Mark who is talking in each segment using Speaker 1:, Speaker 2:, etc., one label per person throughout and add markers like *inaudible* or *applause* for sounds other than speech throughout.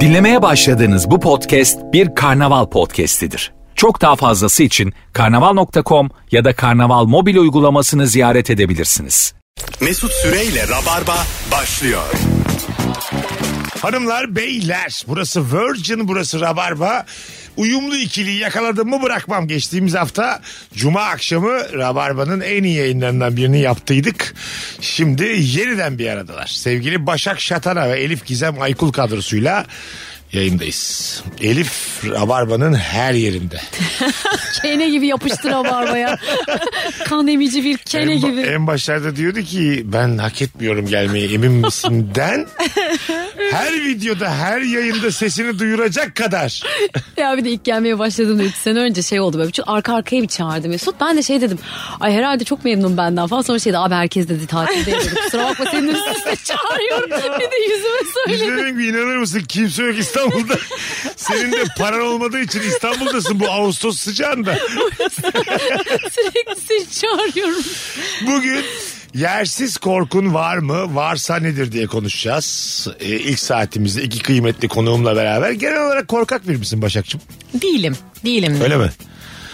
Speaker 1: Dinlemeye başladığınız bu podcast bir karnaval podcastidir. Çok daha fazlası için karnaval.com ya da karnaval mobil uygulamasını ziyaret edebilirsiniz.
Speaker 2: Mesut Süreyle Rabarba başlıyor.
Speaker 3: Hanımlar beyler burası Virgin burası Rabarba. Uyumlu ikiliyi yakaladım mı bırakmam. Geçtiğimiz hafta Cuma akşamı Rabarba'nın en iyi yayınlarından birini yaptıydık. Şimdi yeniden bir aradalar. Sevgili Başak Şatana ve Elif Gizem Aykul kadrosuyla yayındayız. Elif Rabarba'nın her yerinde.
Speaker 4: Kene gibi yapıştır
Speaker 5: *laughs*
Speaker 4: barbaya. kan emici bir kene
Speaker 3: en, ba-
Speaker 4: gibi.
Speaker 3: en başlarda diyordu ki ben hak etmiyorum gelmeyi emin misinden. her videoda her yayında sesini duyuracak kadar.
Speaker 4: Ya bir de ilk gelmeye başladığımda 3 sene önce şey oldu böyle. Çünkü arka arkaya bir çağırdı Mesut. Ben de şey dedim. Ay herhalde çok memnun benden falan. Sonra şey dedi abi herkes dedi tatilde dedi. Kusura bakma seni de üst üste
Speaker 5: *laughs*
Speaker 4: çağırıyorum. Bir de yüzüme söyledi.
Speaker 3: İzledim ki inanır mısın kimse yok İstanbul'da. Senin de paran olmadığı için İstanbul'dasın bu Ağustos sıcağında.
Speaker 4: Sürekli seni çağırıyorum.
Speaker 3: Bugün yersiz korkun var mı? Varsa nedir diye konuşacağız. Ee, ilk saatimizde iki kıymetli konuğumla beraber. Genel olarak korkak bir misin Başakçım?
Speaker 5: Değilim. Değilim.
Speaker 3: Öyle mi?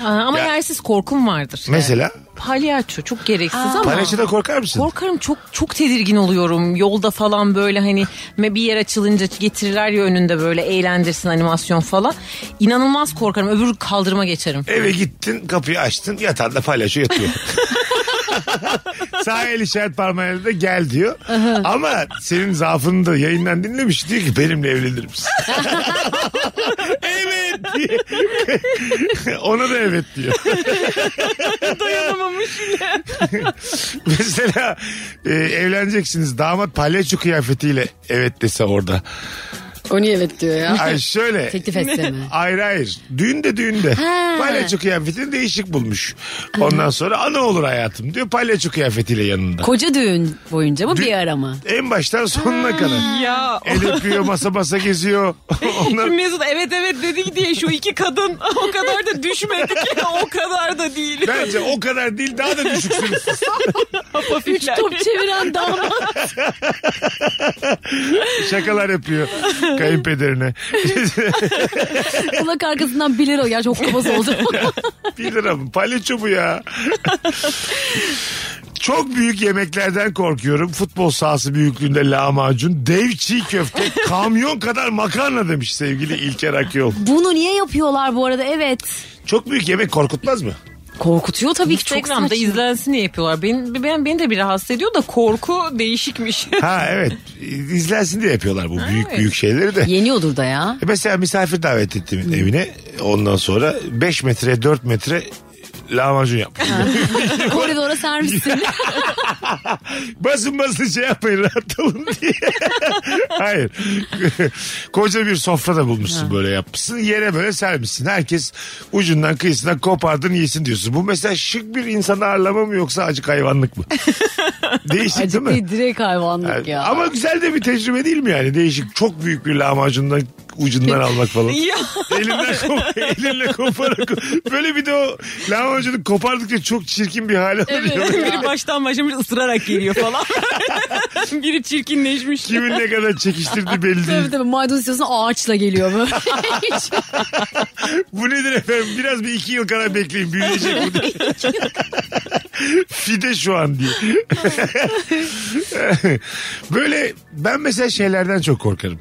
Speaker 5: Aa, ama
Speaker 3: Ya-
Speaker 5: yersiz korkum vardır.
Speaker 3: Mesela
Speaker 5: Palyaço çok gereksiz ama.
Speaker 3: paylaşıda korkar mısın?
Speaker 5: Korkarım çok çok tedirgin oluyorum. Yolda falan böyle hani me- bir yer açılınca getirirler ya önünde böyle eğlendirsin animasyon falan. İnanılmaz korkarım. Öbür kaldırıma geçerim.
Speaker 3: Eve gittin kapıyı açtın yatağında paylaşıyor yatıyor. *laughs* Sağ el işaret parmağıyla da gel diyor. Ama senin zaafını da yayından dinlemiş. Diyor ki benimle evlenir
Speaker 4: *laughs*
Speaker 3: misin? evet *laughs* diye. Ona da evet
Speaker 4: *laughs*
Speaker 3: diyor.
Speaker 5: Dayanamamış.
Speaker 3: *laughs* Mesela e, evleneceksiniz damat palyaço kıyafetiyle evet dese orada.
Speaker 4: O niye evet diyor ya?
Speaker 3: Ay şöyle.
Speaker 4: Teklif etse mi?
Speaker 3: Hayır hayır. Düğün de düğünde.
Speaker 4: Ha.
Speaker 3: Palyaço kıyafetini değişik bulmuş. Ondan sonra ana olur hayatım diyor palyaço kıyafetiyle yanında.
Speaker 4: Koca düğün boyunca mı bir ara mı?
Speaker 3: En baştan sonuna kadar.
Speaker 5: *laughs* Ya
Speaker 3: El öpüyor masa masa geziyor. Onlar
Speaker 5: Mesut evet evet dedi diye şu iki kadın *laughs* o kadar da düşmedik o kadar da değil.
Speaker 3: bence o kadar değil daha da düşüksünüz. siz.
Speaker 4: Üç top çeviren damat.
Speaker 3: Şakalar yapıyor kayınpederine. *laughs*
Speaker 4: Kulak arkasından 1 lira. Ya çok kabaz
Speaker 5: *laughs*
Speaker 4: oldu.
Speaker 3: Bir lira mı? Palyaço bu ya. *laughs* Çok büyük yemeklerden korkuyorum. Futbol sahası büyüklüğünde lahmacun, dev çiğ köfte, kamyon kadar makarna demiş sevgili İlker Akyol.
Speaker 4: Bunu niye yapıyorlar bu arada? Evet.
Speaker 3: Çok büyük yemek korkutmaz mı?
Speaker 4: Korkutuyor tabii ki çok
Speaker 5: Instagram'da
Speaker 4: saçma.
Speaker 5: izlensin diye yapıyorlar. Beni, ben, beni de bir rahatsız ediyor da korku değişikmiş.
Speaker 3: Ha evet. İzlensin diye yapıyorlar bu büyük büyük şeyleri de.
Speaker 4: Yeniyordur da ya.
Speaker 3: E Mesela misafir davet ettim evine. Ondan sonra 5 metre 4 metre lahmacun yapmış.
Speaker 4: *laughs* Koridora *laughs* servisini.
Speaker 3: basın basın şey yapmayın rahat olun diye. *laughs* Hayır. *laughs* Koca bir sofra da bulmuşsun böyle yapmışsın. Yere böyle sermişsin. Herkes ucundan kıyısından kopardın yesin diyorsun. Bu mesela şık bir insanı ağırlama mı yoksa acık hayvanlık mı? Değişik değil mi?
Speaker 4: Ciddi direkt hayvanlık
Speaker 3: Yani
Speaker 4: ya.
Speaker 3: Ama güzel de bir tecrübe değil mi yani? Değişik çok büyük bir lahmacundan ucundan almak falan.
Speaker 5: *laughs* ya.
Speaker 3: Elinden kop elinle koparak böyle bir de o lahmacunu kopardıkça çok çirkin bir hale oluyor.
Speaker 5: *laughs* Biri baştan başlamış ısırarak geliyor falan. Biri çirkinleşmiş.
Speaker 3: Kimin ne kadar çekiştirdi belli değil.
Speaker 4: Tabii tabii maydanoz istiyorsan ağaçla geliyor *laughs* böyle. Hiç-
Speaker 3: Bu nedir efendim? Biraz bir iki yıl kadar bekleyin. Büyüyecek
Speaker 5: *laughs*
Speaker 3: bu. diye. Fide şu an diye. *laughs* Böyle ben mesela şeylerden çok korkarım.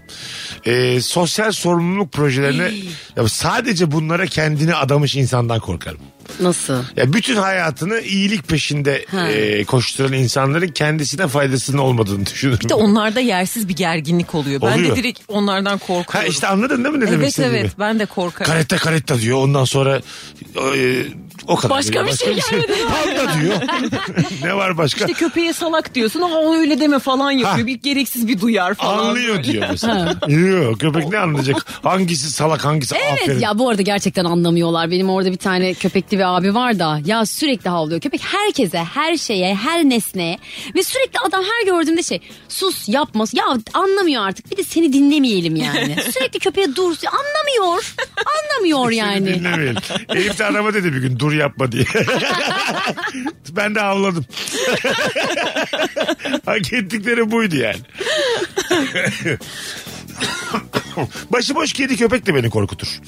Speaker 3: Ee, sosyal sorumluluk projelerine ya sadece bunlara kendini adamış insandan korkarım.
Speaker 4: Nasıl?
Speaker 3: Ya bütün hayatını iyilik peşinde
Speaker 4: Ha.
Speaker 3: e, koşturan insanların kendisine faydasının olmadığını düşünürüm.
Speaker 5: Bir de onlarda yersiz bir gerginlik oluyor. Ben
Speaker 3: Oluyor.
Speaker 5: de direkt onlardan korkuyorum.
Speaker 3: ha, işte anladın değil mi ne demek
Speaker 5: evet
Speaker 3: istediğimi?
Speaker 5: evet ben de korkarım.
Speaker 3: Karetta karetta diyor ondan sonra e, o kadar.
Speaker 4: Başka
Speaker 3: diyor.
Speaker 4: bir şey gelmedi.
Speaker 3: Panda
Speaker 4: *laughs*
Speaker 3: diyor. ne var başka?
Speaker 5: İşte köpeğe salak diyorsun ama o öyle deme falan yapıyor.
Speaker 3: Ha.
Speaker 5: Bir gereksiz bir duyar falan.
Speaker 3: Anlıyor diyor
Speaker 5: *laughs*
Speaker 3: mesela. Yok köpek ne anlayacak? Hangisi salak hangisi aferin.
Speaker 4: Evet ya bu arada gerçekten anlamıyorlar. Benim orada bir tane köpekli bir abi var da ya sürekli havlıyor. Köpek herkese, her şeye, her nesneye ve sürekli adam her gördüğümde şey sus yapma. Ya anlamıyor artık bir de seni dinlemeyelim *laughs* yani. sürekli köpeğe dur anlamıyor. Anlamıyor yani.
Speaker 3: Dinlemeyelim. Elif de adama dedi bir gün dur yapma diye. *laughs*
Speaker 4: *laughs* *laughs*
Speaker 3: ben de avladım. Hak ettikleri buydu yani. Başıboş kedi köpek de beni korkutur.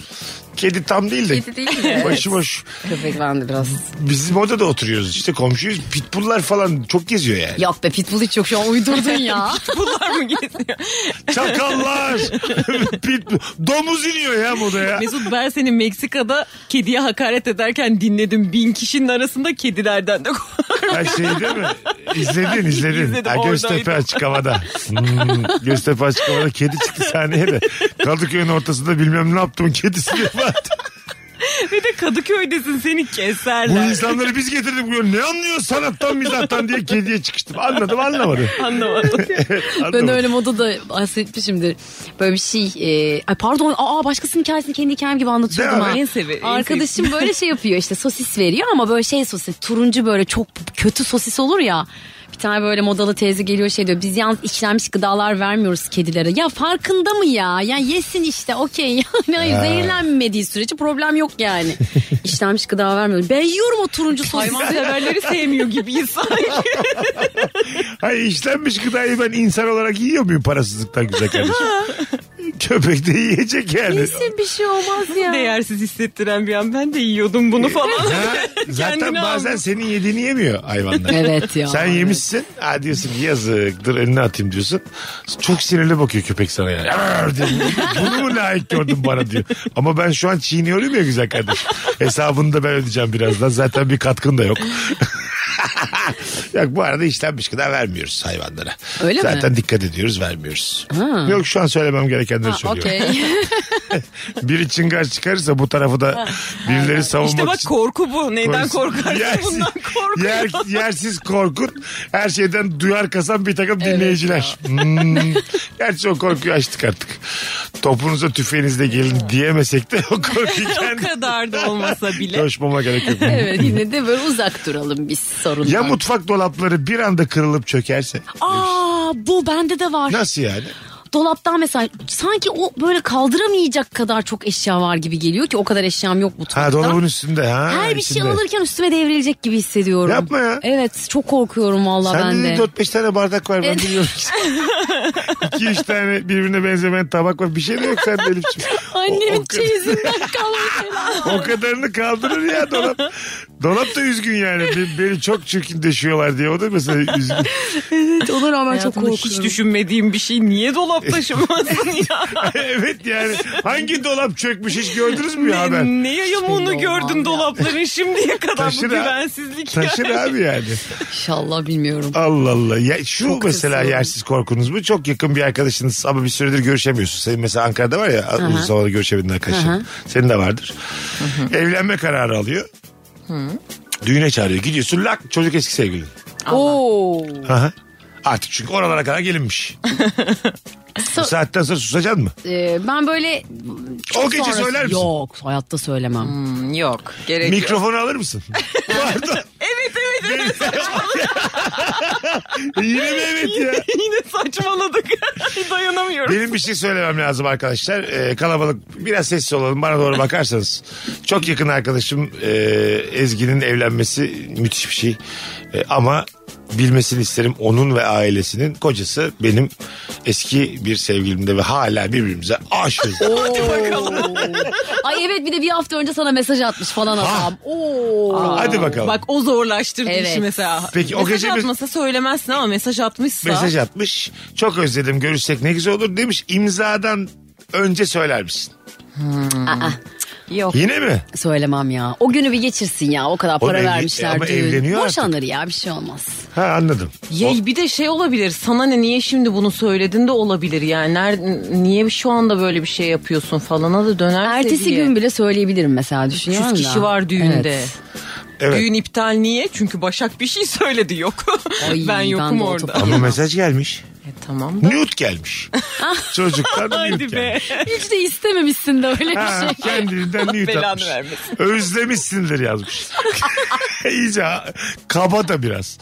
Speaker 3: Kedi tam değil de.
Speaker 4: Kedi değil de, evet.
Speaker 3: Başıboş.
Speaker 4: Köpek ben de biraz.
Speaker 3: Biz odada oturuyoruz işte komşuyuz. Pitbulllar falan çok geziyor
Speaker 4: *laughs*
Speaker 3: yani.
Speaker 4: Yok be pitbull hiç yok şu an uydurdun *laughs* ya.
Speaker 5: Bunlar mı geziyor?
Speaker 3: Çakallar. *laughs* Pitbull. Domuz iniyor ya modaya.
Speaker 5: Mesut ben seni Meksika'da kediye hakaret ederken dinledim. Bin kişinin arasında kedilerden de *laughs*
Speaker 3: Her şey değil mi? İzledin izledin.
Speaker 5: İzledim,
Speaker 3: ha, Göztepe
Speaker 5: oradaydım.
Speaker 3: açık havada. Hmm, Göztepe açık havada kedi çıktı sahneye de. Kadıköy'ün ortasında bilmem ne yaptım kedisi diye bağırdı.
Speaker 5: Ve de Kadıköy'desin seni
Speaker 3: Bu
Speaker 5: keserler.
Speaker 3: insanları biz getirdik buraya. Ne anlıyor sanattan mizahtan diye kediye çıkıştım. Anladım anlamadı.
Speaker 5: Anlamadım.
Speaker 3: *laughs*
Speaker 4: Ben
Speaker 3: Anlamadı.
Speaker 4: öyle moda da bahsetmişimdir. Böyle bir şey. e, ay pardon aa başkasının hikayesini kendi hikayem gibi anlatıyordum
Speaker 3: Değil mi?
Speaker 4: ha.
Speaker 5: En seve- en
Speaker 4: Arkadaşım böyle şey yapıyor işte sosis veriyor ama böyle şey sosis turuncu böyle çok kötü sosis olur ya. Bir tane böyle modalı teyze geliyor şey diyor biz yalnız işlenmiş gıdalar vermiyoruz kedilere. Ya farkında mı ya? Ya yesin işte okey *laughs* yani hayır, zehirlenmediği sürece problem yok yani.
Speaker 3: *laughs*
Speaker 4: işlenmiş gıda vermiyoruz. Ben yiyorum o turuncu sosis.
Speaker 5: Hayvan severleri sevmiyor gibi sanki.
Speaker 3: Ay işlenmiş gıdayı ben insan olarak yiyor muyum parasızlıktan güzel kardeşim? Köpek de yiyecek yani.
Speaker 4: Yesin bir şey olmaz ya.
Speaker 5: Değersiz hissettiren bir an ben de yiyordum bunu falan.
Speaker 3: Ha, zaten
Speaker 5: *laughs* Kendini
Speaker 3: bazen
Speaker 5: almış.
Speaker 3: senin yediğini yemiyor hayvanlar.
Speaker 4: Evet ya.
Speaker 3: Sen yemişsin. Ha diyorsun ki yazıktır önüne atayım diyorsun. Çok sinirli bakıyor köpek sana yani. Arr diyor. Bunu mu layık gördün bana diyor. Ama ben şu an çiğniyorum ya güzel kardeşim. Hesabını da ben ödeyeceğim birazdan. Zaten bir katkın da yok. *laughs* Yok bu arada işlenmiş kadar vermiyoruz hayvanlara.
Speaker 4: Öyle mi?
Speaker 3: Zaten dikkat ediyoruz vermiyoruz. Yok şu an söylemem gerekenleri
Speaker 4: Ha,
Speaker 3: söylüyorum.
Speaker 4: Okey.
Speaker 3: Biri çıngar çıkarırsa bu tarafı da birileri savunmak
Speaker 5: İşte bak
Speaker 3: için...
Speaker 5: korku bu. Neyden
Speaker 3: Korkusun.
Speaker 5: korkarsın
Speaker 3: Yersiz-
Speaker 5: bundan korkuyor. *laughs*
Speaker 3: yer- yersiz korkun. Her şeyden duyar kasan bir takım dinleyiciler. Hmm. Gerçi o korkuyu açtık artık. Topunuza tüfeğinizle gelin diyemesek de o korkuyu
Speaker 5: *laughs* o
Speaker 3: kendi
Speaker 5: kadar da olmasa bile.
Speaker 3: Coşmama gerek yok.
Speaker 4: Evet yine de böyle uzak duralım biz sorundan.
Speaker 3: Ya mutfak dolapları bir anda kırılıp çökerse?
Speaker 4: Aa bu bende de var.
Speaker 3: Nasıl yani?
Speaker 4: Dolaptan mesela sanki o böyle kaldıramayacak kadar çok eşya var gibi geliyor ki o kadar eşyam yok mutfakta.
Speaker 3: Ha dolabın üstünde. Ha,
Speaker 4: Her bir
Speaker 3: içinde.
Speaker 4: şey alırken üstüme devrilecek gibi hissediyorum.
Speaker 3: Yapma ya.
Speaker 4: Evet çok korkuyorum valla
Speaker 3: Sen
Speaker 4: ben
Speaker 3: de
Speaker 4: de.
Speaker 3: 4-5 tane bardak var ben
Speaker 4: Evet.
Speaker 3: biliyorum.
Speaker 5: *laughs*
Speaker 3: 2-3 tane birbirine benzemeyen tabak var. Bir şey de yok sende Elif'ciğim. O-
Speaker 4: Annemin
Speaker 3: o-
Speaker 4: çeyizinden kalan şeyler.
Speaker 3: O kadarını kaldırır ya dolap. Dolap da üzgün yani. Be- Beni çok çirkinleşiyorlar diye. O da mesela üzgün. *laughs*
Speaker 4: Evet *laughs* ona rağmen çok
Speaker 5: Hayatımda
Speaker 4: korkuyorum.
Speaker 5: hiç düşünmediğim bir şey
Speaker 3: *laughs*
Speaker 5: niye dolap taşımasın ya?
Speaker 3: evet yani. Hangi dolap çökmüş hiç gördünüz mü ya haber?
Speaker 5: ne, ne yayılımını
Speaker 4: Hiçbir şey
Speaker 5: gördün
Speaker 4: dolap *laughs*
Speaker 5: dolapların şimdiye kadar
Speaker 3: Taşır
Speaker 5: bu
Speaker 3: ha.
Speaker 5: güvensizlik.
Speaker 3: Taşır abi yani.
Speaker 4: İnşallah bilmiyorum.
Speaker 3: Allah Allah. Ya şu
Speaker 4: Çok
Speaker 3: mesela
Speaker 4: kızıyorum.
Speaker 3: yersiz korkunuz mu? Çok yakın bir arkadaşınız ama bir süredir görüşemiyorsun. Senin mesela Ankara'da var ya uzun zamandır görüşemediğin arkadaşın. Senin de vardır. Evlenme kararı alıyor. Düğüne çağırıyor. Gidiyorsun lak çocuk eski sevgilin.
Speaker 4: Oo.
Speaker 3: Aha. Artık çünkü oralara kadar
Speaker 4: *laughs*
Speaker 3: gelinmiş. Bu saatten sonra susacaksın mı?
Speaker 4: Ee, ben böyle çok
Speaker 3: O gece
Speaker 4: sonrası-
Speaker 3: söyler misin? Hmm.
Speaker 4: Yok hayatta söylemem.
Speaker 5: Yok gerek yok.
Speaker 3: Mikrofonu alır
Speaker 4: *laughs*
Speaker 3: mısın? Pardon.
Speaker 5: Evet evet evet
Speaker 3: Yine mi evet ya?
Speaker 5: *laughs* yine saçmaladık. *laughs* Dayanamıyorum.
Speaker 3: Benim bir şey söylemem lazım arkadaşlar. Ee, kalabalık biraz sessiz olalım. Bana doğru bakarsanız. Çok yakın arkadaşım e, Ezgi'nin evlenmesi müthiş bir şey. E, ama bilmesini isterim onun ve ailesinin kocası benim eski bir sevgilimde ve hala birbirimize aşığız.
Speaker 4: Ay evet bir de bir hafta önce sana mesaj atmış falan adam. Oo.
Speaker 3: Hadi bakalım.
Speaker 5: Bak o zorlaştırdı
Speaker 4: Evet.
Speaker 5: işi mesela.
Speaker 3: Peki, o
Speaker 5: mesaj
Speaker 3: gece biz-
Speaker 5: atmasa söylemezsin ama mesaj atmışsa.
Speaker 3: Mesaj atmış. Çok özledim görüşsek ne güzel olur demiş. İmzadan önce söyler misin?
Speaker 4: Aa,
Speaker 5: Yok.
Speaker 3: Yine mi?
Speaker 4: söylemem ya. O günü bir geçirsin ya. O kadar para
Speaker 3: evli-
Speaker 4: vermişler.
Speaker 3: ama
Speaker 4: düğün.
Speaker 3: evleniyor artık.
Speaker 4: Boşanır ya bir şey olmaz.
Speaker 3: Ha anladım.
Speaker 5: Ya
Speaker 3: O-
Speaker 5: bir de şey olabilir. Sana ne niye şimdi bunu söyledin de olabilir yani. Ner- niye şu anda böyle bir şey yapıyorsun falana da dönerse
Speaker 4: Ertesi
Speaker 5: diye.
Speaker 4: gün bile söyleyebilirim mesela düşünüyorum
Speaker 5: 300
Speaker 4: da.
Speaker 5: kişi var düğünde.
Speaker 4: Evet.
Speaker 3: Evet.
Speaker 5: Düğün iptal niye? Çünkü Başak bir şey *laughs* söyledi yok.
Speaker 4: Ay,
Speaker 5: *laughs* ben yokum
Speaker 4: ben de o
Speaker 5: orada.
Speaker 4: topa-
Speaker 3: Ama mesaj gelmiş.
Speaker 5: E, tamam da.
Speaker 3: Nude gelmiş. Çocuktan nude
Speaker 5: Hadi be.
Speaker 3: gelmiş.
Speaker 4: *laughs* Hiç de istememişsin de öyle bir
Speaker 3: Ha,
Speaker 4: şey.
Speaker 3: kendinden
Speaker 5: Allah
Speaker 3: nude
Speaker 5: belanı
Speaker 3: atmış.
Speaker 5: vermesin.
Speaker 3: Özlemişsindir yazmış. *laughs* İyice ha- kaba da biraz.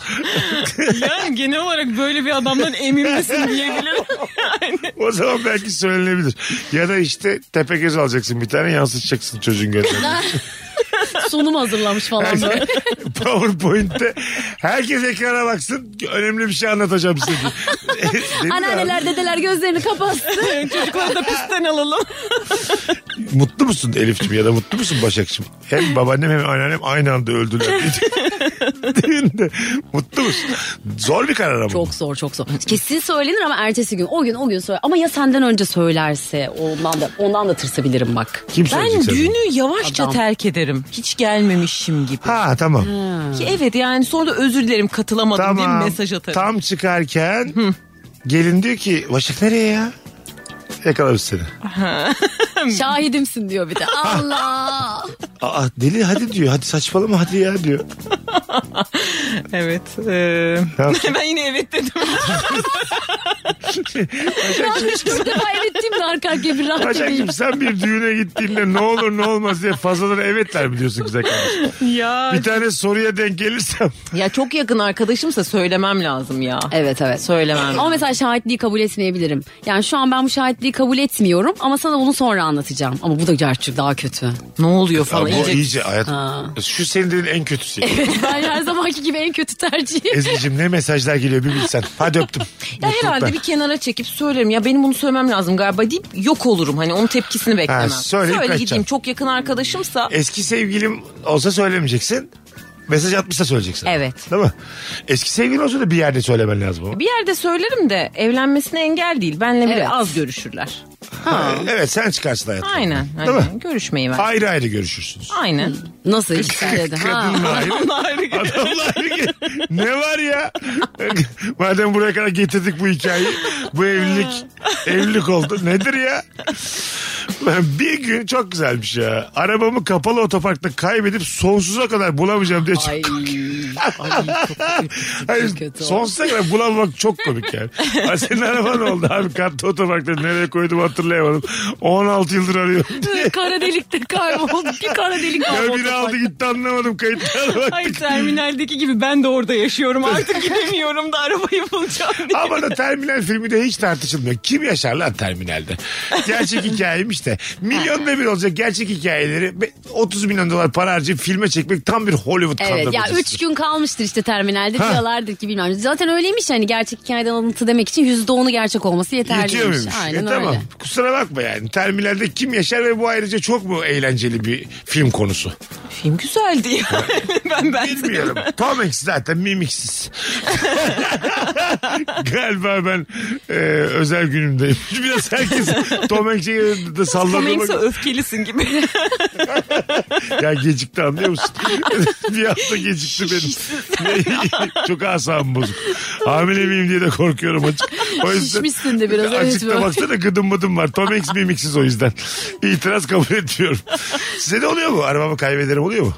Speaker 5: Yani genel olarak böyle bir adamdan emin misin *laughs* diyebilirim.
Speaker 3: O zaman belki söylenebilir. Ya da işte tepegöz alacaksın bir tane yansıtacaksın çocuğun gönlünü.
Speaker 4: *laughs* sunum
Speaker 3: *laughs*
Speaker 4: hazırlamış falan böyle.
Speaker 3: PowerPoint'te herkes ekrana baksın önemli bir şey anlatacağım size. Değil mi abi?
Speaker 4: Anneanneler dedeler gözlerini kapatsın.
Speaker 5: Çocukları da pistten alalım.
Speaker 3: Mutlu musun Elif'ciğim ya da mutlu musun Başak'cığım? Hem babaannem hem anneannem aynı anda öldüler. Düğünde. mutlu musun? Zor bir karar ama.
Speaker 4: *laughs* Çok zor çok zor. Kesin söylenir ama ertesi gün o gün o gün söyle. Ama ya senden önce söylerse ondan da ondan da tırsabilirim bak.
Speaker 3: Kim söyleyecek
Speaker 5: Ben
Speaker 3: sana?
Speaker 5: düğünü yavaşça
Speaker 4: Adam.
Speaker 5: terk ederim. Hiç gelmemişim gibi.
Speaker 3: Ha tamam.
Speaker 5: Ki evet yani sonra da özür dilerim katılamadım diye
Speaker 3: Tamam.
Speaker 5: mesaj atarım.
Speaker 3: Tam çıkarken gelin diyor ki Başak nereye ya? Yakalamış seni.
Speaker 4: Şahidimsin diyor bir *laughs* de. Allah.
Speaker 3: Aa deli hadi diyor. Hadi saçmalama hadi ya diyor.
Speaker 5: Evet. e, eee,
Speaker 3: yaptın?
Speaker 5: *laughs* ben yine evet dedim.
Speaker 4: Bir defa evet diyeyim de arka arkaya bir rahat edeyim.
Speaker 3: Başak'cığım sen bir düğüne gittiğinde ne olur ne olmaz diye fazladan evetler biliyorsun güzel kardeşim.
Speaker 5: ya.
Speaker 3: Bir tane soruya denk gelirsem.
Speaker 5: Ya çok yakın arkadaşımsa söylemem lazım ya.
Speaker 4: Evet evet.
Speaker 5: Söylemem.
Speaker 4: Ama mesela şahitliği kabul etmeyebilirim. Yani şu an ben bu şahitliği kabul etmiyorum ama sana bunu sonra anlatacağım. Ama bu da gerçi daha kötü.
Speaker 5: ne oluyor
Speaker 3: Ya
Speaker 5: falan.
Speaker 3: bu
Speaker 5: iyice-
Speaker 3: iyice hayat. Şu senin dediğin en kötüsü.
Speaker 4: *laughs* ben her zamanki gibi en kötü tercihim.
Speaker 3: Ezgi'cim ne mesajlar geliyor bir bilsen. Hadi öptüm.
Speaker 5: Ya herhalde bir kenara çekip söylerim ya benim bunu söylemem lazım galiba deyip yok olurum hani onun tepkisini beklemem.
Speaker 3: söyleyip
Speaker 5: Söyle
Speaker 3: kaçacaksın.
Speaker 5: gideyim çok yakın arkadaşımsa
Speaker 3: Eski sevgilim olsa söylemeyeceksin. Mesaj atmışsa söyleyeceksin.
Speaker 5: Evet.
Speaker 3: Değil mi? Eski sevgilin olsa da bir yerde söylemen lazım ama.
Speaker 5: bir yerde söylerim de evlenmesine engel değil. Benle bile
Speaker 4: Evet.
Speaker 5: az görüşürler.
Speaker 3: Evet sen çıkarsın hayatım.
Speaker 5: Aynen.
Speaker 3: Değil
Speaker 5: Hani
Speaker 3: mi?
Speaker 5: görüşmeyi ben.
Speaker 3: Ayrı ayrı görüşürsünüz.
Speaker 5: Aynen.
Speaker 4: Nasıl dedi ha?
Speaker 3: Kadınla ayrı. Adamlar *laughs* ayrı. ne var ya? *laughs* Madem buraya kadar getirdik bu hikayeyi. Bu evlilik. Evlilik oldu. Nedir ya? Ben bir gün çok güzelmiş ya. Arabamı kapalı otoparkta kaybedip sonsuza kadar bulamayacağım diye
Speaker 4: Ay.
Speaker 3: *laughs* Hayır,
Speaker 4: çok kötü
Speaker 3: sonsuza kadar bulamamak çok komik yani. Ay senin araban oldu abi kartta otoparkta nereye koydum hatırlayamadım. 16 yıldır arıyorum.
Speaker 4: kara delikte kayboldu. Bir kara delik
Speaker 3: Ya
Speaker 4: kayboldu.
Speaker 3: biri aldı gitti anlamadım kayıtlara
Speaker 5: Hayır
Speaker 3: baktık.
Speaker 5: terminaldeki gibi ben de orada yaşıyorum artık gidemiyorum da arabayı bulacağım diye.
Speaker 3: Ama da terminal filmi de hiç tartışılmıyor. Kim yaşar lan terminalde? Gerçek hikayeymiş de. Milyonda bir olacak gerçek hikayeleri. Be- 30 milyon dolar para harcayıp filme çekmek tam bir Hollywood
Speaker 4: Evet ya
Speaker 3: kandırmacası.
Speaker 4: üç gün kalmıştır işte terminalde diyorlardır ki bilmem. Zaten öyleymiş hani gerçek hikayeden alıntı demek için yüzde onu gerçek olması
Speaker 3: Yetiyor
Speaker 4: yeterliymiş.
Speaker 3: muymuş?
Speaker 4: Aynen
Speaker 3: E tamam.
Speaker 4: öyle.
Speaker 3: Kusura bakma yani. Terminalde kim yaşar ve bu ayrıca çok mu eğlenceli bir film konusu?
Speaker 5: Film güzeldi ya. *laughs* ben ben
Speaker 4: *laughs*
Speaker 3: Bilmiyorum. Tom Hanks zaten mimiksiz. *laughs* Galiba ben e, özel günümdeyim. *laughs* Biraz herkes Tom Hanks'e de
Speaker 5: Tom Hanks'e
Speaker 3: sallanıyor.
Speaker 5: öfkelisin gibi.
Speaker 3: ya gecikti anlıyor musun? *laughs* bir hafta gecikti benim. *laughs* Çok asabım bozuk. Hamile miyim diye de korkuyorum açık. O yüzden,
Speaker 4: Şişmişsin de biraz, evet
Speaker 3: Açıkta
Speaker 4: böyle.
Speaker 3: baksana gıdım mıdım var. Tom Hanks mimiksiz o yüzden. İtiraz kabul etmiyorum. Size de oluyor mu? Arabamı kaybederim oluyor mu?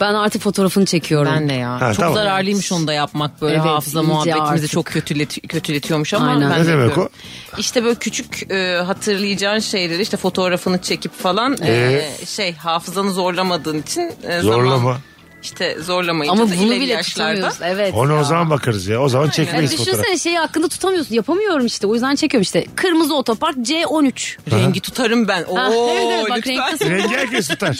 Speaker 4: Ben artık fotoğrafını çekiyorum.
Speaker 5: *laughs* Ben de ya.
Speaker 3: Ha,
Speaker 5: çok
Speaker 3: tamam.
Speaker 5: zararlıymış onu da yapmak böyle
Speaker 4: Evet,
Speaker 5: hafıza
Speaker 4: iyice
Speaker 5: muhabbetimizi
Speaker 4: artık.
Speaker 5: çok kötületi- kötületiyormuş ama
Speaker 4: Aynen.
Speaker 5: ben
Speaker 3: Ne demek
Speaker 5: yapıyorum. İşte böyle küçük e, hatırlayacağın şeyleri işte fotoğrafını çekip falan e,
Speaker 3: Ee?
Speaker 5: şey hafızanı zorlamadığın için e,
Speaker 3: Zorlama.
Speaker 5: Zaman, işte zorlamayınca
Speaker 4: Ama
Speaker 5: da
Speaker 4: bunu
Speaker 5: ileri
Speaker 4: bile
Speaker 5: yaşlarda-
Speaker 4: tutamıyoruz. Evet.
Speaker 3: Onu o
Speaker 4: ya.
Speaker 3: zaman bakarız ya. O zaman
Speaker 4: Yani
Speaker 3: çekmeyiz fotoğraf.
Speaker 4: düşünsene şeyi hakkında tutamıyorsun. Yapamıyorum işte. O yüzden çekiyorum işte. Kırmızı otopark C13.
Speaker 5: Rengi tutarım ben.
Speaker 4: Ha,
Speaker 5: Oo,
Speaker 4: *laughs* evet, evet, bak
Speaker 5: lütfen.
Speaker 4: renk Şey
Speaker 5: *laughs*
Speaker 4: tasarım.
Speaker 3: Rengi herkes tutar.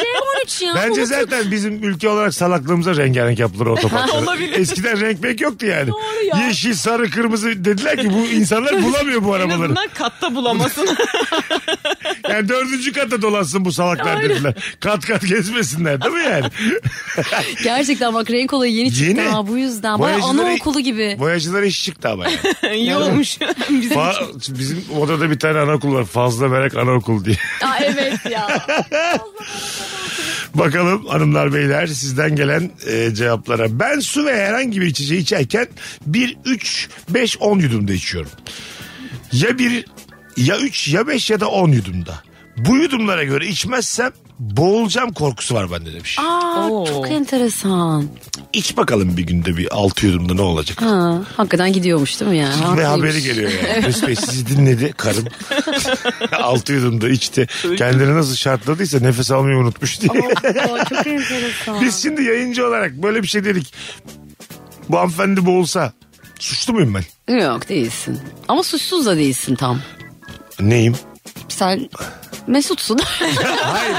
Speaker 4: C13 ya.
Speaker 3: Bence
Speaker 4: unuttum.
Speaker 3: zaten bizim ülke olarak salaklığımıza rengarenk yapılır otoparklar.
Speaker 5: Olabilir.
Speaker 3: Eskiden renk renk yoktu yani.
Speaker 5: Doğru ya.
Speaker 3: Yeşil, sarı, kırmızı dediler ki bu insanlar bulamıyor bu
Speaker 5: En
Speaker 3: arabaları.
Speaker 5: azından katta bulamasın.
Speaker 3: Yani dördüncü kata dolansın bu salaklar dediler. Kat kat gezmesinler değil mi yani?
Speaker 4: Gerçekten bak renk olayı yeni,
Speaker 3: Yeni.
Speaker 4: çıktı ha bu yüzden. Baya
Speaker 3: Boyacılara-
Speaker 4: anaokulu gibi.
Speaker 3: Boyacılar iş çıktı ama yani.
Speaker 5: İyi olmuş. Bizim
Speaker 3: Fa- bizim odada bir tane anaokul var. Fazla merak anaokul diye.
Speaker 4: Aa, evet
Speaker 3: *laughs*
Speaker 4: ya.
Speaker 3: Bakalım hanımlar beyler sizden gelen e, cevaplara. Ben su ve herhangi bir içeceği içerken 1, 3, 5, 10 yudumda içiyorum. Ya 1, ya 3, ya 5 ya da 10 yudumda. Bu yudumlara göre içmezsem boğulacam korkusu var bende demiş.
Speaker 4: Aa,
Speaker 5: Oo.
Speaker 4: çok enteresan.
Speaker 3: İç bakalım bir günde bir 6 yudumda ne olacak?
Speaker 4: Ha, hakikaten gidiyormuş değil mi ya?
Speaker 3: Ve
Speaker 4: Haklıymış.
Speaker 3: haberi geliyor
Speaker 4: *laughs*
Speaker 3: yani. Mesut Bey sizi dinledi karım. 6 yudumda içti. Kendini nasıl şartladıysa nefes almayı unutmuş diye.
Speaker 4: Aa,
Speaker 3: *laughs*
Speaker 4: çok enteresan.
Speaker 3: Biz şimdi yayıncı olarak böyle bir şey dedik. Bu hanımefendi boğulsa suçlu muyum ben?
Speaker 4: Yok değilsin. Ama suçsuz da değilsin tam.
Speaker 3: Neyim?
Speaker 4: Sen Mesutsun. *laughs*
Speaker 3: Hayır.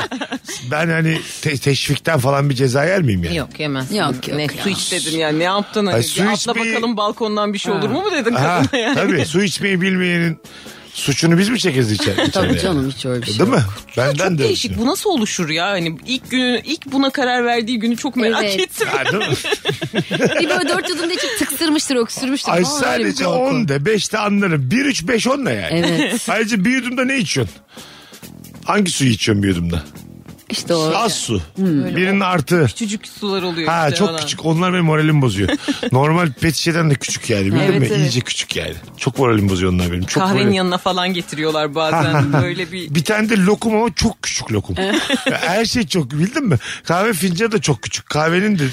Speaker 3: Ben hani te- teşvikten falan bir ceza yer miyim yani?
Speaker 5: *laughs* Yok yemez.
Speaker 4: Yok, yok
Speaker 5: Ne,
Speaker 4: ya.
Speaker 5: su iç dedin yani ne yaptın? Hani?
Speaker 3: Ay,
Speaker 5: Bir
Speaker 3: su iç
Speaker 5: atla
Speaker 3: bir-
Speaker 5: bakalım balkondan bir şey olur mu mu dedin
Speaker 3: Ha,
Speaker 4: *laughs*
Speaker 5: kadına yani.
Speaker 3: Tabii su içmeyi bilmeyenin suçunu biz mi çekeriz içeri?
Speaker 4: Tabii
Speaker 3: içeri yani?
Speaker 4: canım hiç öyle bir şey
Speaker 3: Değil
Speaker 4: yok.
Speaker 3: mi? Benden
Speaker 5: Çok
Speaker 3: de.
Speaker 5: değişik bu nasıl oluşur ya? Hani ilk günü ilk buna karar verdiği günü çok merak
Speaker 4: Evet.
Speaker 5: ettim. *laughs*
Speaker 3: şey Ha, değil
Speaker 4: *laughs*
Speaker 3: mi?
Speaker 4: Bir böyle dört yudumda içip tıksırmıştır öksürmüştür.
Speaker 3: Ay
Speaker 4: Vallahi öyle bir
Speaker 3: sadece
Speaker 4: korku.
Speaker 3: 10 de 5 de anlarım. 1 3 5 10 ne yani?
Speaker 4: Evet.
Speaker 3: Ayrıca bir yudumda ne içiyorsun? Hangi suyu içiyorsun bir yudumda?
Speaker 4: İşte o.
Speaker 3: Az su.
Speaker 4: Hmm.
Speaker 3: Birinin artı.
Speaker 5: Küçücük sular oluyor
Speaker 3: Ha
Speaker 5: işte
Speaker 3: çok
Speaker 5: falan.
Speaker 3: küçük. Onlar benim moralimi
Speaker 5: *laughs*
Speaker 3: bozuyor. Normal pet şişeden de küçük yani. Bildin
Speaker 5: Evet,
Speaker 3: mi?
Speaker 5: evet.
Speaker 3: İyice küçük yani. Çok moralimi bozuyor onlar benim. Çok
Speaker 5: Kahvenin
Speaker 3: moralim-
Speaker 5: yanına falan getiriyorlar bazen böyle bir
Speaker 3: Bir tane de lokum ama çok küçük
Speaker 5: *laughs*
Speaker 3: lokum. Her şey çok bildin mi? Kahve fincanı da çok küçük. Kahvenin de